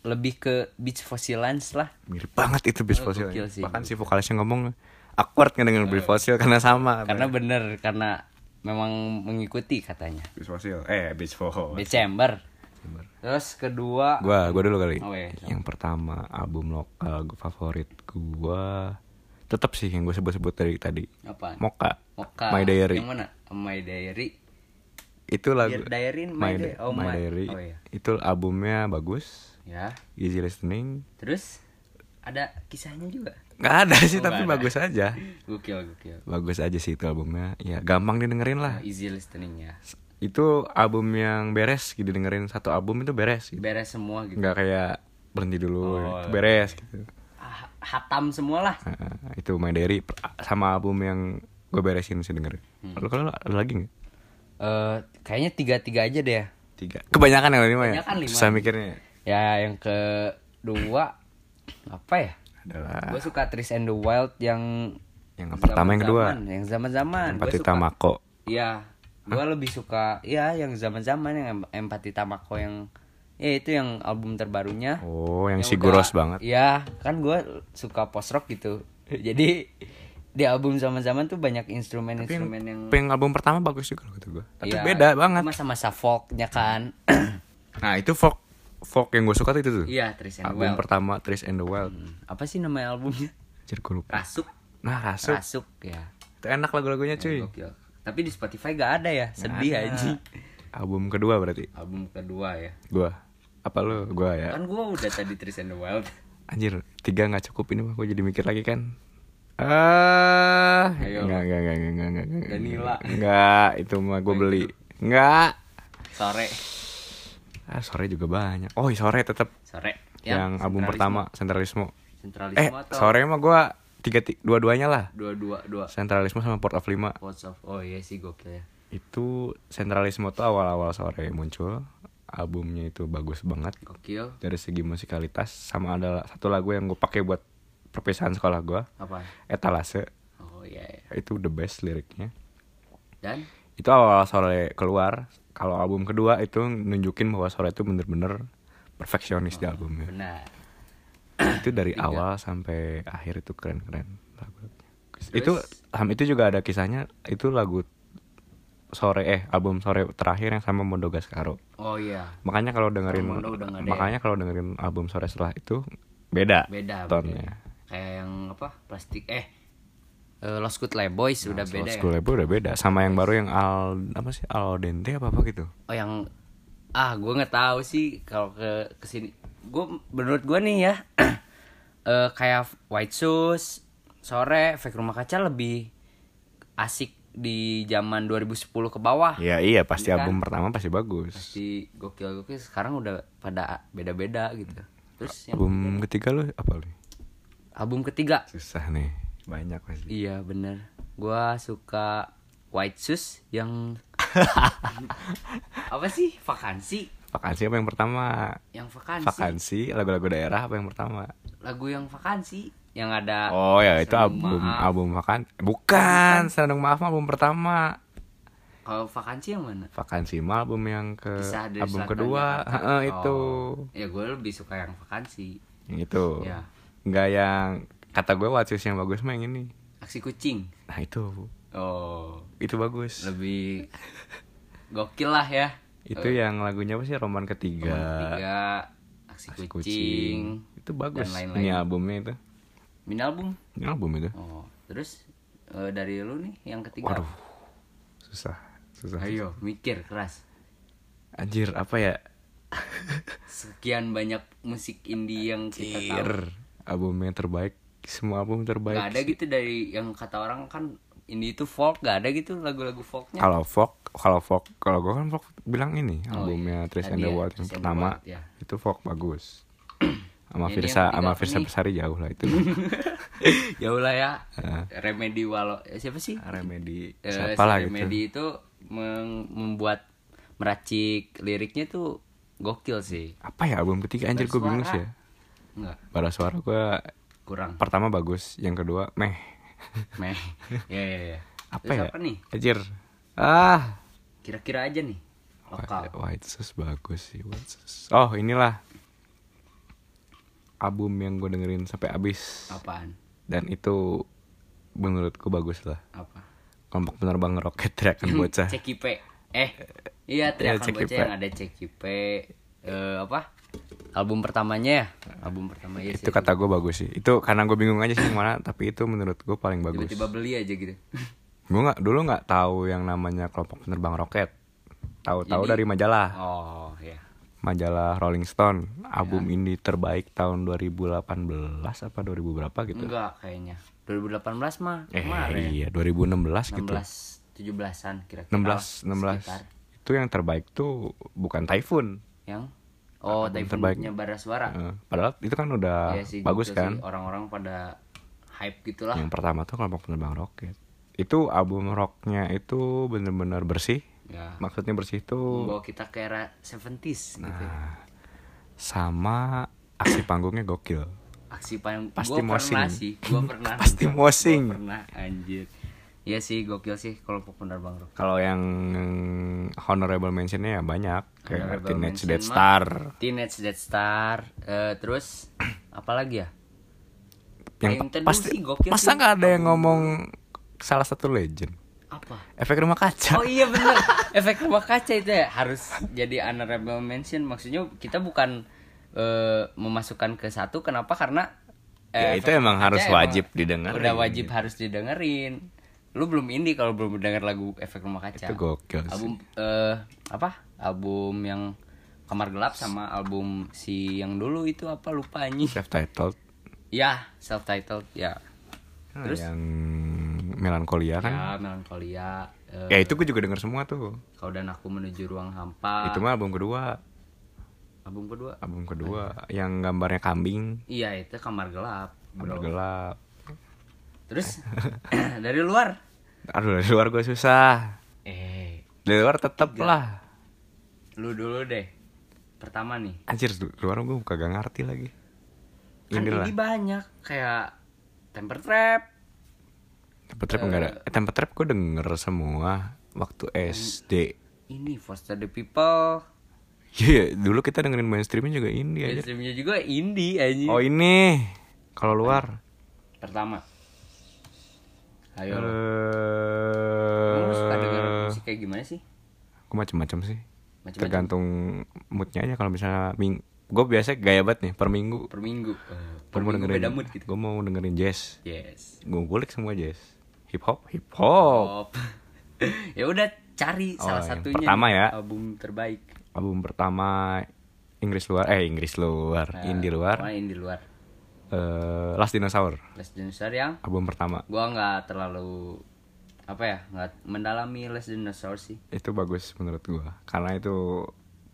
A: lebih ke beach fossilance lah
B: Mirip banget itu Beast
A: Oh,
B: Fossil.
A: gokil sih. Eh.
B: Bahkan si vokalisnya ngomong awkward kan dengan Beast Fossil karena sama.
A: karena bener karena memang mengikuti katanya
B: Beast Fossil. Eh, Beast Fossil.
A: December terus kedua
B: Gua gua dulu kali.
A: Oh, iya.
B: Yang pertama album lokal gua favorit gua tetap sih yang gue sebut-sebut dari tadi.
A: apa
B: Moka.
A: Mocha.
B: My Diary.
A: yang mana My Diary
B: Itu lagu
A: Dear Diary in My, Diary oh
B: My
A: my,
B: Diary.
A: oh iya
B: Itu albumnya bagus,
A: ya
B: easy listening.
A: terus ada kisahnya juga
B: nggak ada sih
A: Oh,
B: tapi
A: nggak ada.
B: bagus aja
A: Gokil, gokil.
B: bagus aja sih itu albumnya ya gampang didengerin lah
A: Easy listening ya.
B: itu album yang beres gitu dengerin satu album itu beres gitu.
A: Beres semua gitu.
B: nggak kayak berhenti dulu
A: Oh,
B: itu beres gitu
A: Ah, Hatam semua lah.
B: Nah, itu My Diary per- sama album yang gue beresin sih dengerin
A: Hmm.
B: lalu kalau lu ada lagi nggak
A: Eh, kayaknya tiga-tiga aja deh ya.
B: tiga kebanyakan yang lima ya
A: Kebanyakan lima.
B: susah mikirnya
A: Ya, yang kedua apa ya?
B: adalah
A: Gue suka Tris and the Wild yang
B: yang pertama yang kedua
A: zaman-zaman, yang zaman-zaman. Gua
B: Empati
A: suka-
B: Tamako
A: Iya, gue lebih suka ya yang zaman-zaman yang Em- Empati Tamako yang ya itu yang album terbarunya.
B: oh yang,
A: Yang
B: siguros
A: Ya udah-
B: banget
A: Iya, kan gue suka post rock gitu. Jadi di album zaman-zaman tuh banyak instrumen-instrumen yang
B: Tapi yang album pertama bagus juga loh kata gue tapi
A: Iya,
B: beda banget
A: itu Masa-masa folknya kan.
B: nah itu folk folk yang gue suka tuh itu tuh
A: Iya, Tris and the
B: album
A: Wild.
B: pertama Trace and the Wild
A: Hmm. Apa sih nama albumnya?
B: Anjir, gua lupa
A: Rasuk.
B: nah rasuk
A: Rasuk ya.
B: itu enak lagu-lagunya cuy
A: Gokil. Tapi di Spotify gak ada ya. Sedih
B: Ada.
A: aja.
B: album kedua berarti
A: Album kedua ya.
B: gua apa lu gua ya
A: Kan gue udah tadi Tris and the Wild.
B: anjir tiga nggak cukup ini mah gue jadi mikir lagi kan ah
A: Ayo.
B: nggak nggak nggak nggak nggak nggak nggak
A: Danila.
B: nggak itu mah gue beli nggak
A: Sore.
B: ah sore juga banyak oh sore tetap
A: Sore.
B: yang album pertama sentralisme
A: Sentralisme
B: eh
A: atau
B: sore mah gua tiga ti- dua-duanya lah
A: dua dua dua.
B: sentralisme sama port of lima
A: Pots of Oh iya sih gokil ya.
B: itu sentralisme tuh awal-awal sore muncul albumnya itu bagus banget
A: Gokil.
B: dari segi musikalitas sama ada satu lagu yang gue pakai buat perpisahan sekolah gua
A: Apa?
B: etalase
A: Oh iya. iya.
B: itu the best liriknya
A: Dan
B: itu awal sore keluar kalau album kedua itu nunjukin bahwa sore itu bener-bener perfeksionis di albumnya
A: benar.
B: itu dari
A: Iya.
B: awal sampai akhir itu keren-keren lagu itu ham itu juga ada kisahnya itu lagu sore eh album sore terakhir yang sama Mondo Gascaro
A: Oh iya.
B: makanya kalau dengerin
A: Oh, Mondo udah nggak ada ya?
B: makanya kalau dengerin album sore setelah itu beda
A: Beda. ya. beda.
B: tonnya
A: Kayak yang apa? Plastik eh eh, Lost Good Lay Boys udah beda ya.
B: School Lab udah beda sama yang baru yang al apa sih al dente apa apa gitu
A: Oh yang ah gue nggak tahu sih kalau ke kesini gue menurut gue nih ya eh kayak White Shoes sore efek rumah kaca lebih asik di zaman 2010 ke bawah
B: Iya iya pasti
A: Kan?
B: album pertama pasti bagus
A: si gokil gokil sekarang udah pada beda-beda gitu terus yang ya?
B: album ketiga lu apa lu
A: album ketiga
B: susah nih banyak pasti
A: iya bener gue suka White Shoes yang apa sih vakansi
B: vakansi apa yang pertama
A: yang vakansi
B: vakansi lagu-lagu daerah apa yang pertama
A: lagu yang vakansi yang ada
B: Oh ya itu
A: Serundung
B: album
A: Maaf.
B: album makan bukan Serundung Maaf mah album pertama
A: kalau vakansi yang mana
B: Vakansi mah album yang ke
A: Kisah dari
B: album
A: Selatan
B: kedua
A: Jakarta.
B: Heeh, itu
A: Oh. ya gue lebih suka yang vakansi
B: yang itu
A: Iya.
B: nggak yang kata gue Watsus yang bagus mah yang ini
A: aksi kucing
B: nah itu
A: oh
B: itu bagus
A: lebih gokil lah ya
B: itu yang lagunya apa sih roman ketiga,
A: tiga aksi,
B: Si
A: kucing,
B: Iya. itu bagus Iya.
A: dan lain-lain.
B: ini albumnya itu
A: mini album
B: ini album itu
A: oh terus eh, dari lu nih yang ketiga
B: waduh susah susah
A: Ya. ayo mikir keras
B: anjir apa ya
A: sekian banyak musik indie yang kita tahu
B: Anjir. albumnya terbaik semua album terbaik
A: Gak ada gitu dari yang kata orang kan ini itu folk gak ada gitu lagu-lagu folknya.
B: kalau folk kalau folk kalau gue kan folk bilang ini
A: Oh,
B: albumnya
A: iya.
B: Trace
A: Tadi
B: and the
A: ya,
B: Wild
A: Trace
B: yang
A: and the
B: pertama
A: Wild, ya.
B: itu folk bagus
A: Ini
B: sama
A: yang
B: Firsa
A: ketiga
B: sama
A: apa
B: Firsa
A: nih?
B: Besari jauh lah itu
A: ya ulah ya. Remedy Walo eh, siapa sih?
B: remedi
A: Eh,
B: siapa
A: si
B: lah gitu
A: Remedy itu meng- membuat meracik liriknya tuh gokil sih.
B: apa ya album ketiga anjir gue bingung sih ya
A: Enggak,
B: Bara suara gue
A: kurang.
B: pertama bagus yang kedua meh
A: Meh. Ya ya ya.
B: apa
A: Terus
B: ya
A: Apa nih?
B: anjir ah
A: Kira-kira aja nih. Lokal.
B: White Sus bagus sih White Sus. oh inilah album yang gue dengerin sampai habis
A: Apaan?
B: dan itu menurutku bagus lah
A: Apa?
B: kelompok penerbang roket teriakan
A: Hmm,
B: bocah
A: CKP. Eh, iya teriakan
B: CKP.
A: bocah yang ada CKP eh apa? Album pertamanya ya? Album pertama ya
B: itu kan kata gue bagus sih itu karena gue bingung aja sih yang mana tapi itu menurut gue paling bagus
A: Tiba-tiba beli aja gitu.
B: gue nggak dulu nggak tahu yang namanya kelompok penerbang roket tahu-tahu
A: Jadi-
B: dari majalah
A: Oh, ya.
B: majalah Rolling Stone album indie terbaik tahun 2018 apa 2000 berapa gitu
A: Enggak kayaknya. 2018 mah
B: eh
A: Hmm, kemarin.
B: iya 2016 gitu
A: 16 17-an kira-kira. Oh,
B: 16
A: sekitar.
B: 16 itu yang terbaik tuh bukan Typhoon
A: Yang Oh,
B: terbaik.
A: Typhoon Bara Suara.
B: Eh, padahal itu kan udah
A: Ya. Iya sih,
B: bagus
A: gitu sih.
B: kan
A: Orang-orang pada hype gitulah.
B: yang pertama tuh kelompok penerbang roket itu album rocknya itu bener-bener bersih
A: Ya.
B: maksudnya bersih tuh
A: Membawa kita ke era 70s gitu. ya.
B: Nah, sama aksi panggungnya gokil
A: Aksi paling
B: Pasti
A: gua pernah
B: mosing.
A: sih, gua pernah.
B: Pasti
A: nonton.
B: mosing.
A: Gua Pernah anjir. Iya sih, gokil sih kelompok penerbang roket.
B: kalau yang honorable mentionnya ya banyak kayak
A: Honorable
B: Teenage
A: mention
B: Dead
A: mah.
B: Star
A: Teenage Dead Star, eh, terus apa lagi ya?
B: yang
A: Yang tadi
B: pasti
A: sih gokil
B: masa
A: sih.
B: nggak ada yang ngomong salah satu legend
A: Apa?
B: efek rumah kaca
A: Oh iya bener Efek rumah kaca itu ya harus jadi honorable mention Maksudnya kita bukan eh, memasukkan ke satu Kenapa? Karena eh,
B: Ya,
A: efek
B: itu
A: rumah
B: emang
A: kaca
B: harus wajib ya. didengerin.
A: Udah wajib harus didengerin Lu belum indie kalau belum denger lagu Efek Rumah Kaca
B: Itu gokil sih.
A: Album eh, apa? Album yang Kamar Gelap sama album si yang dulu itu apa lupa anjing
B: self titled Nah,
A: Ya self-titled ya Terus?
B: yang melankolia kan
A: Ya Melankolia eh,
B: ya itu gue juga denger semua tuh
A: Kau dan Aku Menuju Ruang Hampa
B: itu mah album kedua
A: Album kedua
B: album kedua yang gambarnya kambing
A: Iya itu kamar gelap
B: gambar
A: bro.
B: gelap
A: Terus dari luar
B: aduh dari luar gue susah
A: Eh
B: dari luar tetep lah
A: lu dulu deh Pertama nih
B: anjir du- luar gue kagak ngerti lagi
A: Kan
B: ini lah
A: ini banyak Kayak Temper Trap
B: tempat trap enggak ada eh, tempat trap gue denger semua waktu
A: Iya.
B: SD
A: Ini Foster the People
B: Iya, dulu kita dengerin mainstreamnya juga indie aja.
A: Mainstreamnya juga indie anjing
B: Iya, Oh ini, kalau luar,
A: Pertama
B: eh,
A: Ayo Emang lu iya. suka denger musik kayak gimana sih?
B: gue macam-macam sih.
A: Macem-macem.
B: Tergantung moodnya aja. Kalau misalnya ming, gue biasa gaya banget nih per minggu.
A: Per minggu Eh, Per
B: Gue
A: minggu
B: mau dengerin,
A: beda mood gitu
B: gue mau dengerin jazz.
A: Yes
B: Gue gulik semua jazz, hip hop, hip hop.
A: Pop Ya udah cari
B: Oh,
A: salah
B: yang
A: satunya
B: pertama ya.
A: Album terbaik
B: Album pertama Inggris luar, eh Inggris luar,
A: Nah,
B: indie luar,
A: Wah, Indie luar
B: eh Last Dinosaur.
A: Les dinosaur yang
B: Album pertama
A: gua nggak terlalu apa ya nggak mendalami les dinosaur sih.
B: itu bagus menurut gue, karena itu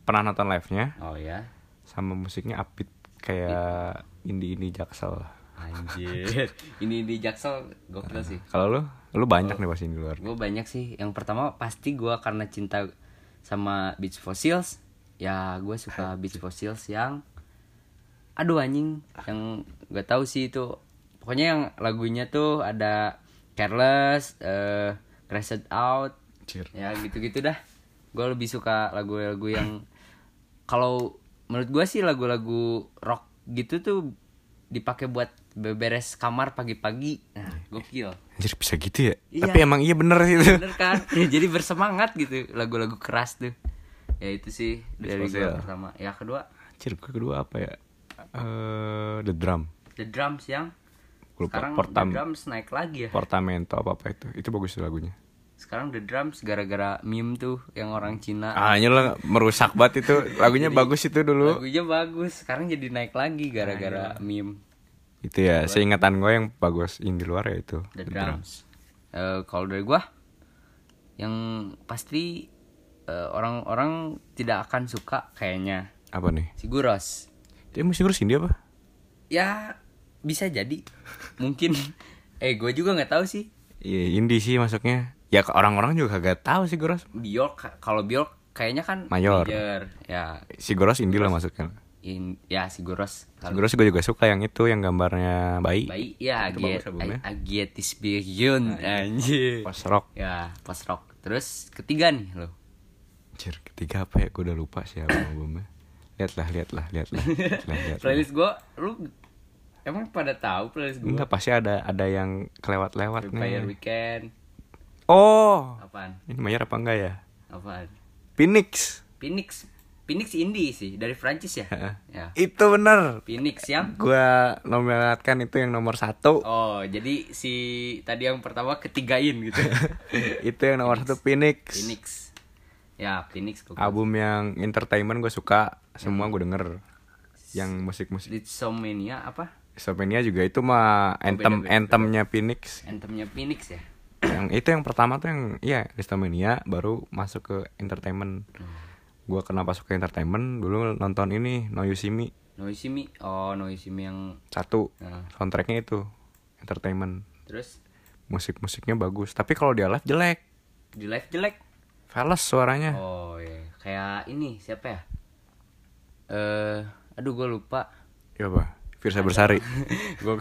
B: pernah nonton live-nya.
A: Oh ya,
B: sama musiknya upbeat kayak indie indie jaksel
A: anjir. ini di Jaksel gokil sih.
B: kalau lu lu
A: Oh.
B: banyak nih pasti di luar
A: Gue banyak sih. Yang pertama pasti gua karena cinta sama Beach Fossils. Ya gue suka Beach Fossils yang aduh anjing yang gak tahu sih itu pokoknya yang lagunya tuh ada careless eh crashed out
B: Anjir.
A: ya gitu-gitu dah gue lebih suka lagu-lagu yang kalau menurut gue sih lagu-lagu rock gitu tuh dipakai buat beberes kamar pagi-pagi nah gokil
B: anjir bisa gitu ya
A: Iya.
B: tapi emang iya bener sih itu
A: bener kan Ya, jadi bersemangat gitu lagu-lagu keras tuh ya itu sih dari gue
B: Disposal.
A: pertama ya kedua
B: anjir gue kedua apa ya Eh the drum
A: the drums yang
B: Gua lupa.
A: sekarang
B: Portam-
A: the drums naik lagi ya
B: portamento apa apa itu itu bagus tuh lagunya
A: sekarang the drums gara-gara meme tuh yang orang Cina
B: ah anjir lah merusak banget itu lagunya bagus itu dulu
A: lagunya bagus sekarang jadi naik lagi gara-gara meme
B: itu ya seingatan gue yang bagus indie luar ya itu
A: The Drums. Eh, kalau dari gua yang pasti eh, orang-orang tidak akan suka kayaknya
B: apa nih
A: si Guros.
B: dia musik kurus indie apa
A: Ya bisa jadi mungkin eh gue juga nggak tahu sih
B: Iya indie sih masuknya ya orang-orang juga kagak tahu sih Goros
A: Bjork kalau Bjork kayaknya kan
B: Mayor.
A: major. ya
B: si Goros indie lah masuknya
A: in, ya si Guros kalau
B: Terus gue juga suka yang itu yang gambarnya bayi.
A: baik ya
B: Itu bagus
A: Agiet
B: albumnya. Ah, iya.
A: Agietis Björn anjir
B: Post rock.
A: ya post rock terus ketiga nih lo
B: Anjir, ketiga apa ya? Gue udah lupa sih album albumnya. Lihatlah, lihatlah, lihatlah. lihatlah, lihatlah.
A: playlist gua lu emang pada tahu playlist gua
B: Enggak pasti ada ada yang kelewat-lewat
A: Vampire
B: nih.
A: Weekend
B: Oh,
A: apaan
B: ini Mayer apa enggak ya?
A: apaan
B: Phoenix.
A: Phoenix Phoenix indie sih dari Prancis ya ya
B: Itu bener.
A: Phoenix yang
B: Gue nominatkan itu yang nomor satu.
A: oh jadi si tadi yang pertama ketigain gitu
B: itu yang nomor satu Phoenix.
A: Phoenix ya Phoenix kok
B: Album yang entertainment gue suka,
A: Hmm.
B: semua gue denger. Yang musik-musik
A: Litsomania apa
B: Slovenia juga itu mah
A: Oh,
B: anthem
A: beda,
B: anthemnya Phoenix.
A: anthemnya Phoenix ya
B: yang itu yang pertama tuh yang iya Listomania baru masuk ke entertainment
A: Hmm.
B: gua kenapa suka entertainment dulu nonton ini No You See Me
A: Noisimi oh Noisimi yang
B: satu
A: Nah.
B: soundtracknya itu entertainment
A: terus
B: musik musiknya bagus tapi kalau dia live jelek
A: di live jelek
B: fals suaranya
A: oh iya kayak ini siapa ya eh aduh gue lupa
B: ya apa Virsa Bersari
A: gue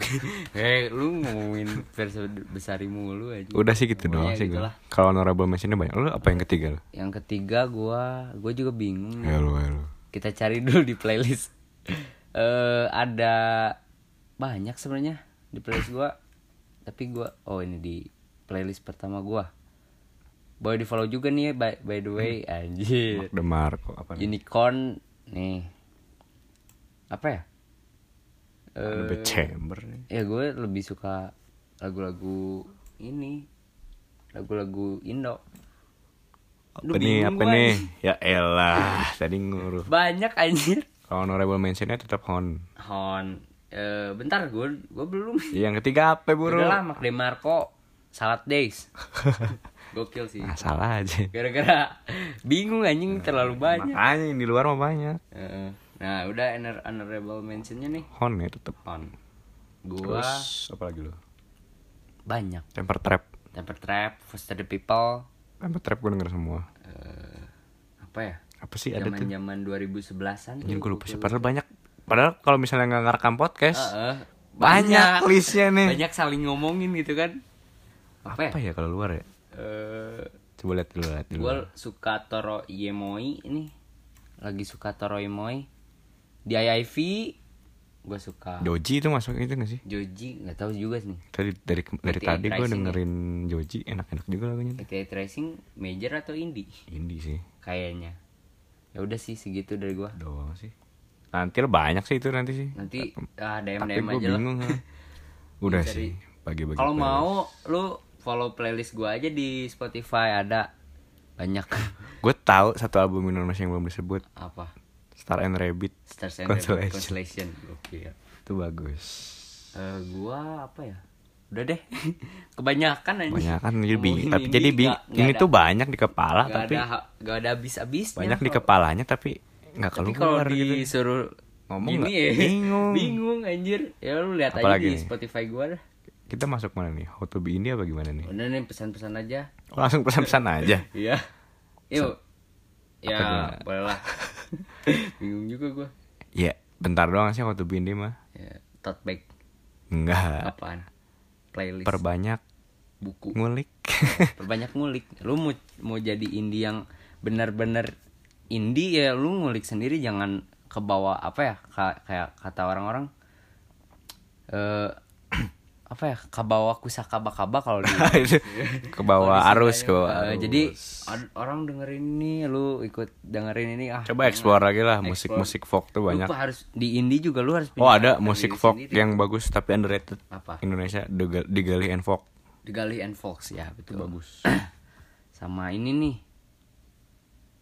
A: eh lu ngomongin versi besari mulu aja
B: udah sih gitu doang
A: Pokoknya
B: sih
A: gitu
B: gua.
A: lah.
B: kalau honorable mentionnya banyak lu apa yang ketiga lu
A: yang ketiga gua gue juga bingung
B: ya lu ya lu
A: kita cari dulu di playlist eh ada banyak sebenarnya di playlist gua tapi gua oh ini di playlist pertama gua boleh di follow juga nih ya, by, by the way anjir
B: Demar kok apa nih?
A: unicorn nih apa ya Eh,
B: Ada chamber nih.
A: ya gue lebih suka lagu-lagu ini lagu-lagu Indo Lu
B: apa
A: bingung
B: nih apa
A: gua,
B: nih
A: anjing.
B: ya elah tadi ngurus
A: banyak anjir
B: Kalau honorable mentionnya tetap Hon.
A: Hon eh bentar gue gue belum
B: Iya, Yang ketiga apa buru?
A: udah lah Mark Demarco Salad Days gokil sih
B: Ah, salah aja.
A: gara-gara bingung anjing terlalu banyak
B: Makanya yang di luar mah banyak.
A: Nah, Eh, nah udah honor- honorable mentionnya nih
B: Hon ya tetap.
A: Hon gue
B: Terus apa lagi lo?
A: banyak
B: Temper trap.
A: Temper Trap Foster the People
B: Temper trap gue denger semua.
A: eh, apa ya
B: Apa sih ada tuh?
A: zaman-zaman 2011-an tuh
B: Ini gue lupa
A: gokil.
B: sih. Padahal banyak. Padahal kalau misalnya nggak ngerekam podcast,
A: Heeh.
B: banyak listnya nih.
A: banyak saling ngomongin gitu kan apa,
B: Apa
A: ya,
B: ya kalau luar ya?
A: Eh,
B: Coba lihat dulu lihat dulu.
A: gue suka Toro Yemoi ini lagi suka Toro Yemoi di IIV gue suka
B: Joji itu masuk itu gak sih?
A: Joji nggak tahu juga sih
B: Tadi dari dari
A: GTA
B: tadi gue
A: Rising ya?
B: dengerin Joji enak-enak juga lagunya. tuh.
A: GTA Tracing major atau indie
B: Indie sih
A: kayaknya ya udah sih segitu dari gue
B: doang sih. Nanti lah banyak sih itu nanti sih.
A: nanti ah DM
B: tapi
A: DM
B: gue
A: aja lah
B: bingung ha. udah
A: Cari.
B: sih bagi-bagi
A: kalau
B: playlist.
A: mau lu follow playlist gue aja di Spotify ada banyak
B: gue tahu satu album Indonesia yang belum disebut
A: apa
B: Star and Rabbit
A: Stars and
B: Constellation.
A: Rabbit Constellation oke ya
B: itu bagus
A: Eh, gua apa ya udah deh kebanyakan aja
B: banyak kan jadi bing
A: Ngomongin
B: tapi
A: ini
B: jadi bing
A: nggak- nggak
B: ini
A: ada-
B: tuh banyak di kepala
A: nggak
B: tapi
A: ada nggak ada habis habisnya
B: banyak di kepalanya tapi nggak
A: tapi kalau
B: keluar gitu
A: disuruh
B: Ngomong
A: gini
B: nggak?
A: ya,
B: Bingung.
A: bingung anjir ya lu lihat aja
B: Apalagi
A: di
B: nih?
A: Spotify gua dah
B: kita masuk mana nih How to be India apa gimana nih
A: udah nih pesan-pesan aja
B: Oh, langsung pesan-pesan aja
A: iya yuk ya
B: dia?
A: boleh lah bingung juga gua
B: ya bentar doang sih How to be India mah
A: ya, tote bag
B: enggak
A: apaan playlist
B: perbanyak
A: buku
B: ngulik
A: perbanyak ngulik lu mau mau jadi indie yang benar-benar indie ya lu ngulik sendiri jangan ke bawah apa ya ka- kayak kata orang-orang eh apa ya ke bawah kusaka bakaba kalau di
B: Itu ke
A: kalau
B: bawah
A: di
B: arus
A: sini,
B: ke bawah
A: eh,
B: arus.
A: jadi ad- orang dengerin ini lu ikut dengerin ini ah
B: coba explore lagi lah musik-musik folk tuh
A: lu
B: banyak
A: harus di indie juga lu harus
B: Oh
A: punya
B: ada
A: Iya, diri
B: musik folk
A: sendiri.
B: yang bagus tapi underrated
A: Apa?
B: Indonesia Diga- Digali and Folk
A: Digali and Fox ya betul. bagus. Sama ini nih.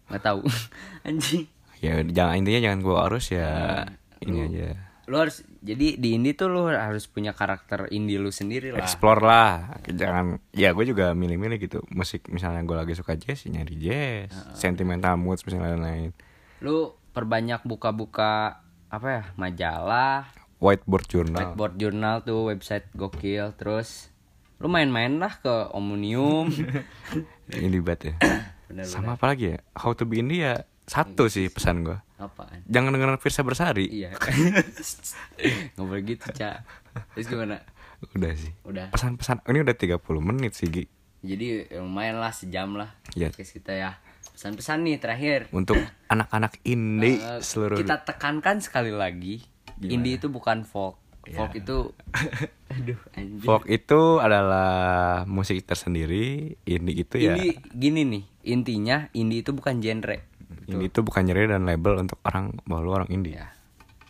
A: Nggak tahu. Anjing.
B: Ya jangan intinya jangan gua arus ya ini aja
A: Hmm, Lu harus jadi di indie tuh lu harus punya karakter indie lu sendiri lah.
B: Explore lah Jangan Ya gue juga milih-milih gitu Musik misalnya gue lagi suka jazz ya nyari jazz Sentimental moods misalnya lain-lain
A: Lu perbanyak buka-buka apa ya? Majalah,
B: Whiteboard journal
A: whiteboard journal tuh website gokil terus lu main-main lah ke Omnium.
B: Ini bat ya
A: Bener, Iya,
B: Sama apa lagi ya How to be indie ya Satu sih pesan gua
A: Apaan?
B: Jangan dengerin Firsa Bersari
A: Iya. Nggak boleh gitu, Cak. Terus gimana?
B: Udah sih
A: Udah.
B: Pesan-pesan Ini udah 30 menit sih Gi
A: Jadi ya lumayan lah sejam lah
B: Iya.
A: podcast kita ya. Pesan-pesan nih terakhir.
B: Untuk anak-anak indie
A: Eh,
B: seluruh
A: kita tekankan sekali lagi, indie itu bukan folk.
B: Iya.
A: Folk itu aduh anjir.
B: Folk itu adalah musik tersendiri. Indie itu ya.
A: Indie gini nih, intinya indie itu bukan genre.
B: Indie itu bukan nyeri dan label untuk orang bahwa lu orang indie.
A: Ya.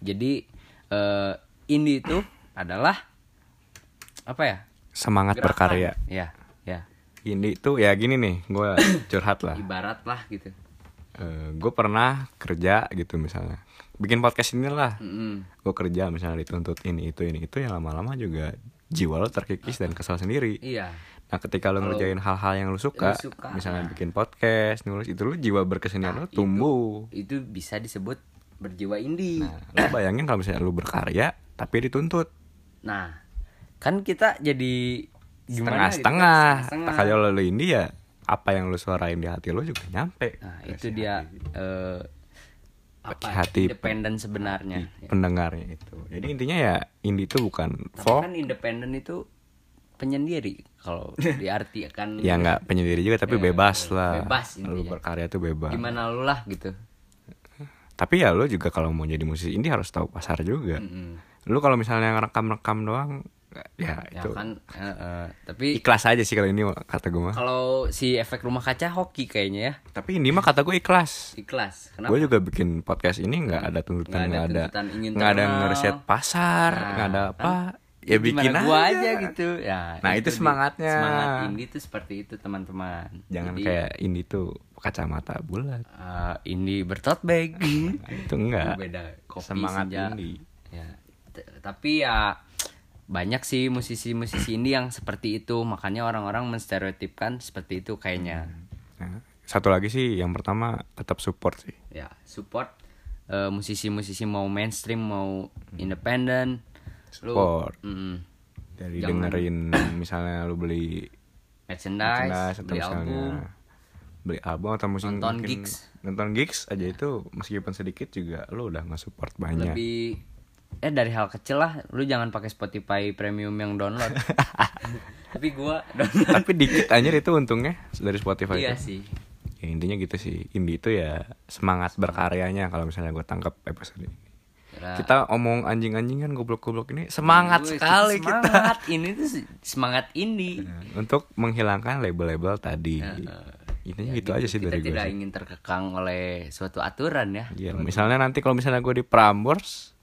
A: Jadi eh indie itu adalah apa ya?
B: Semangat berkarya.
A: Ya, ya.
B: Indie itu ya gini nih, gua curhat lah.
A: Ibarat lah gitu.
B: gue pernah kerja gitu misalnya bikin podcast inilah
A: Mm-mm.
B: gue kerja misalnya dituntut ini itu ini itu ya lama-lama juga jiwa lo terkikis dan kesal sendiri
A: Iya.
B: Nah ketika lo ngerjain hal-hal yang lo suka,
A: lu suka, nah.
B: misalnya bikin podcast, nulis itu lo jiwa berkesenian lo tumbuh.
A: Itu bisa disebut berjiwa indie.
B: Nah, lo bayangin kalau misalnya lo berkarya tapi dituntut
A: Nah, kan kita jadi gimana gitu kan?
B: setengah-setengah.
A: Setengah-setengah.
B: Tak kalau lo ini ya apa yang lo suarain di hati lo juga nyampe.
A: Nah, itu dia eh,
B: Pakai hati
A: independen sebenarnya.
B: pendengarnya itu. Jadi intinya ya indie itu bukan
A: iya. Tapi
B: folk,
A: kan independen itu penyendiri kalau diartikan
B: ya nggak penyendiri juga tapi bebas
A: Iya,
B: lah.
A: bebas
B: Lo
A: intinya.
B: berkarya tuh bebas.
A: gimana lu lah gitu.
B: Tapi ya lo juga kalau mau jadi musisi indie harus tahu pasar juga.
A: Mm-mm.
B: Lu kalau misalnya ngerekam-rekam doang
A: Ya
B: ya, itu
A: kan eh, eh, tapi
B: ikhlas aja sih kalau ini kata gue mah
A: kalau si efek rumah kaca hoki kayaknya ya.
B: tapi ini mah kata gue ikhlas
A: Ikhlas. Kenapa?
B: gue juga bikin podcast ini nggak ada
A: Nggak
B: tuntutan nggak
A: ada
B: ada
A: tuntutan ingin
B: nggak ada
A: terkenal. Nah, kan
B: ngereset pasar nggak ada apa ya bikin
A: Gimana
B: aja,
A: gua aja gitu. Ya,
B: Nah, itu
A: di-
B: semangatnya.
A: Semangat indie itu gitu, seperti itu, teman-teman.
B: jangan
A: Jadi,
B: kayak ini tuh kacamata bulat
A: eh, indie bertote bag.
B: Nah, itu enggak
A: Beda kopi
B: semangat
A: senja.
B: indie
A: Ya. t- tapi ya banyak sih musisi-musisi indie yang seperti itu, makanya orang-orang menstereotipkan seperti itu kayaknya.
B: Nah, satu lagi sih yang pertama tetap support sih
A: Ya, support eh, musisi-musisi mau mainstream mau independen. Lu-
B: Hmm. support
A: Mm-mm.
B: dari
A: jangan-
B: dengerin misalnya lu beli
A: merchandise,
B: atau
A: beli album.
B: Iya. beli album atau musik
A: Nonton
B: mungkin
A: gigs.
B: nonton gigs aja itu meskipun sedikit juga lo udah nggak support banyak
A: lebih eh dari hal kecil lah lu jangan pakai Spotify premium yang download tapi gua download
B: tapi dikit aja itu untungnya dari Spotify
A: iya
B: itu.
A: sih
B: Ya, intinya gitu sih indie itu ya semangat berkaryanya kalau misalnya gue tangkap episode ini
A: Kira-
B: kita omong anjing-anjingan goblok-goblok ini semangat
A: Wih,
B: sekali kita
A: semangat ini tuh se- semangat Ya, ini
B: untuk menghilangkan label-label tadi intinya gitu, aja sih
A: Ya, kita
B: dari gue
A: tidak ingin terkekang oleh suatu aturan ya
B: Iya, misalnya nanti kalau misalnya gue di Prambors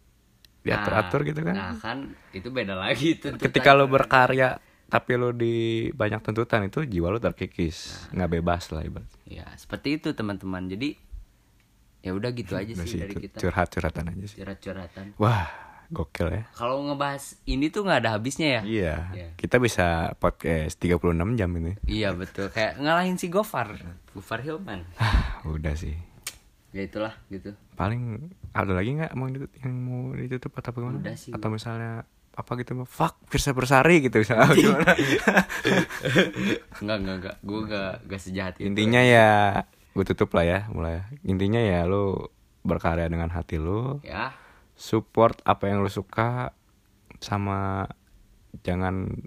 B: diatur-atur gitu kan.
A: nah kan itu beda lagi itu
B: Ketika lo berkarya tapi lo di banyak tuntutan itu jiwa lo terkikis,
A: Nah.
B: nggak bebas lah ibarat.
A: ya seperti itu teman-teman jadi ya udah gitu aja
B: Udah
A: sih
B: sih,
A: dari
B: itu
A: kita
B: curhat-curhatan aja sih.
A: curhat-curhatan
B: Wah, gokil ya.
A: kalau ngebahas ini tuh nggak ada habisnya ya
B: Iya,
A: Iya.
B: kita bisa podcast 36 jam ini.
A: Iya betul kayak ngalahin si Gofar, Gofar Hilman.
B: Hah, Ah, udah sih.
A: Ya itulah gitu.
B: Paling ada lagi nggak mau ditut- yang mau ditutup atau gimana?
A: Udah sih,
B: atau misalnya apa gitu fuck Firsa Bersari gitu misalnya gimana?
A: Enggak enggak enggak, gue enggak enggak sejahat itu.
B: intinya ya gue tutup lah ya mulai intinya ya lu berkarya dengan hati lu
A: Ya,
B: support apa yang lu suka sama jangan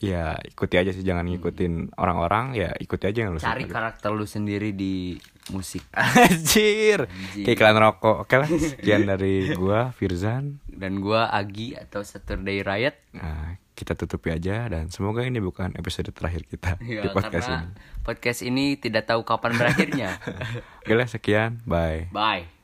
B: ya ikuti aja sih jangan
A: Hmm.
B: ngikutin orang-orang ya ikuti aja yang lu
A: cari
B: suka
A: karakter lu sendiri di musik
B: Anjir, Kayak iklan rokok Oke lah, sekian dari gua Firzan
A: dan gua Agi atau Saturday Riot.
B: nah, Kita tutupi aja dan semoga ini bukan episode terakhir kita
A: Ya,
B: di podcast
A: karena
B: ini
A: podcast ini tidak tahu kapan berakhirnya.
B: Oke lah, sekian, bye
A: Bye.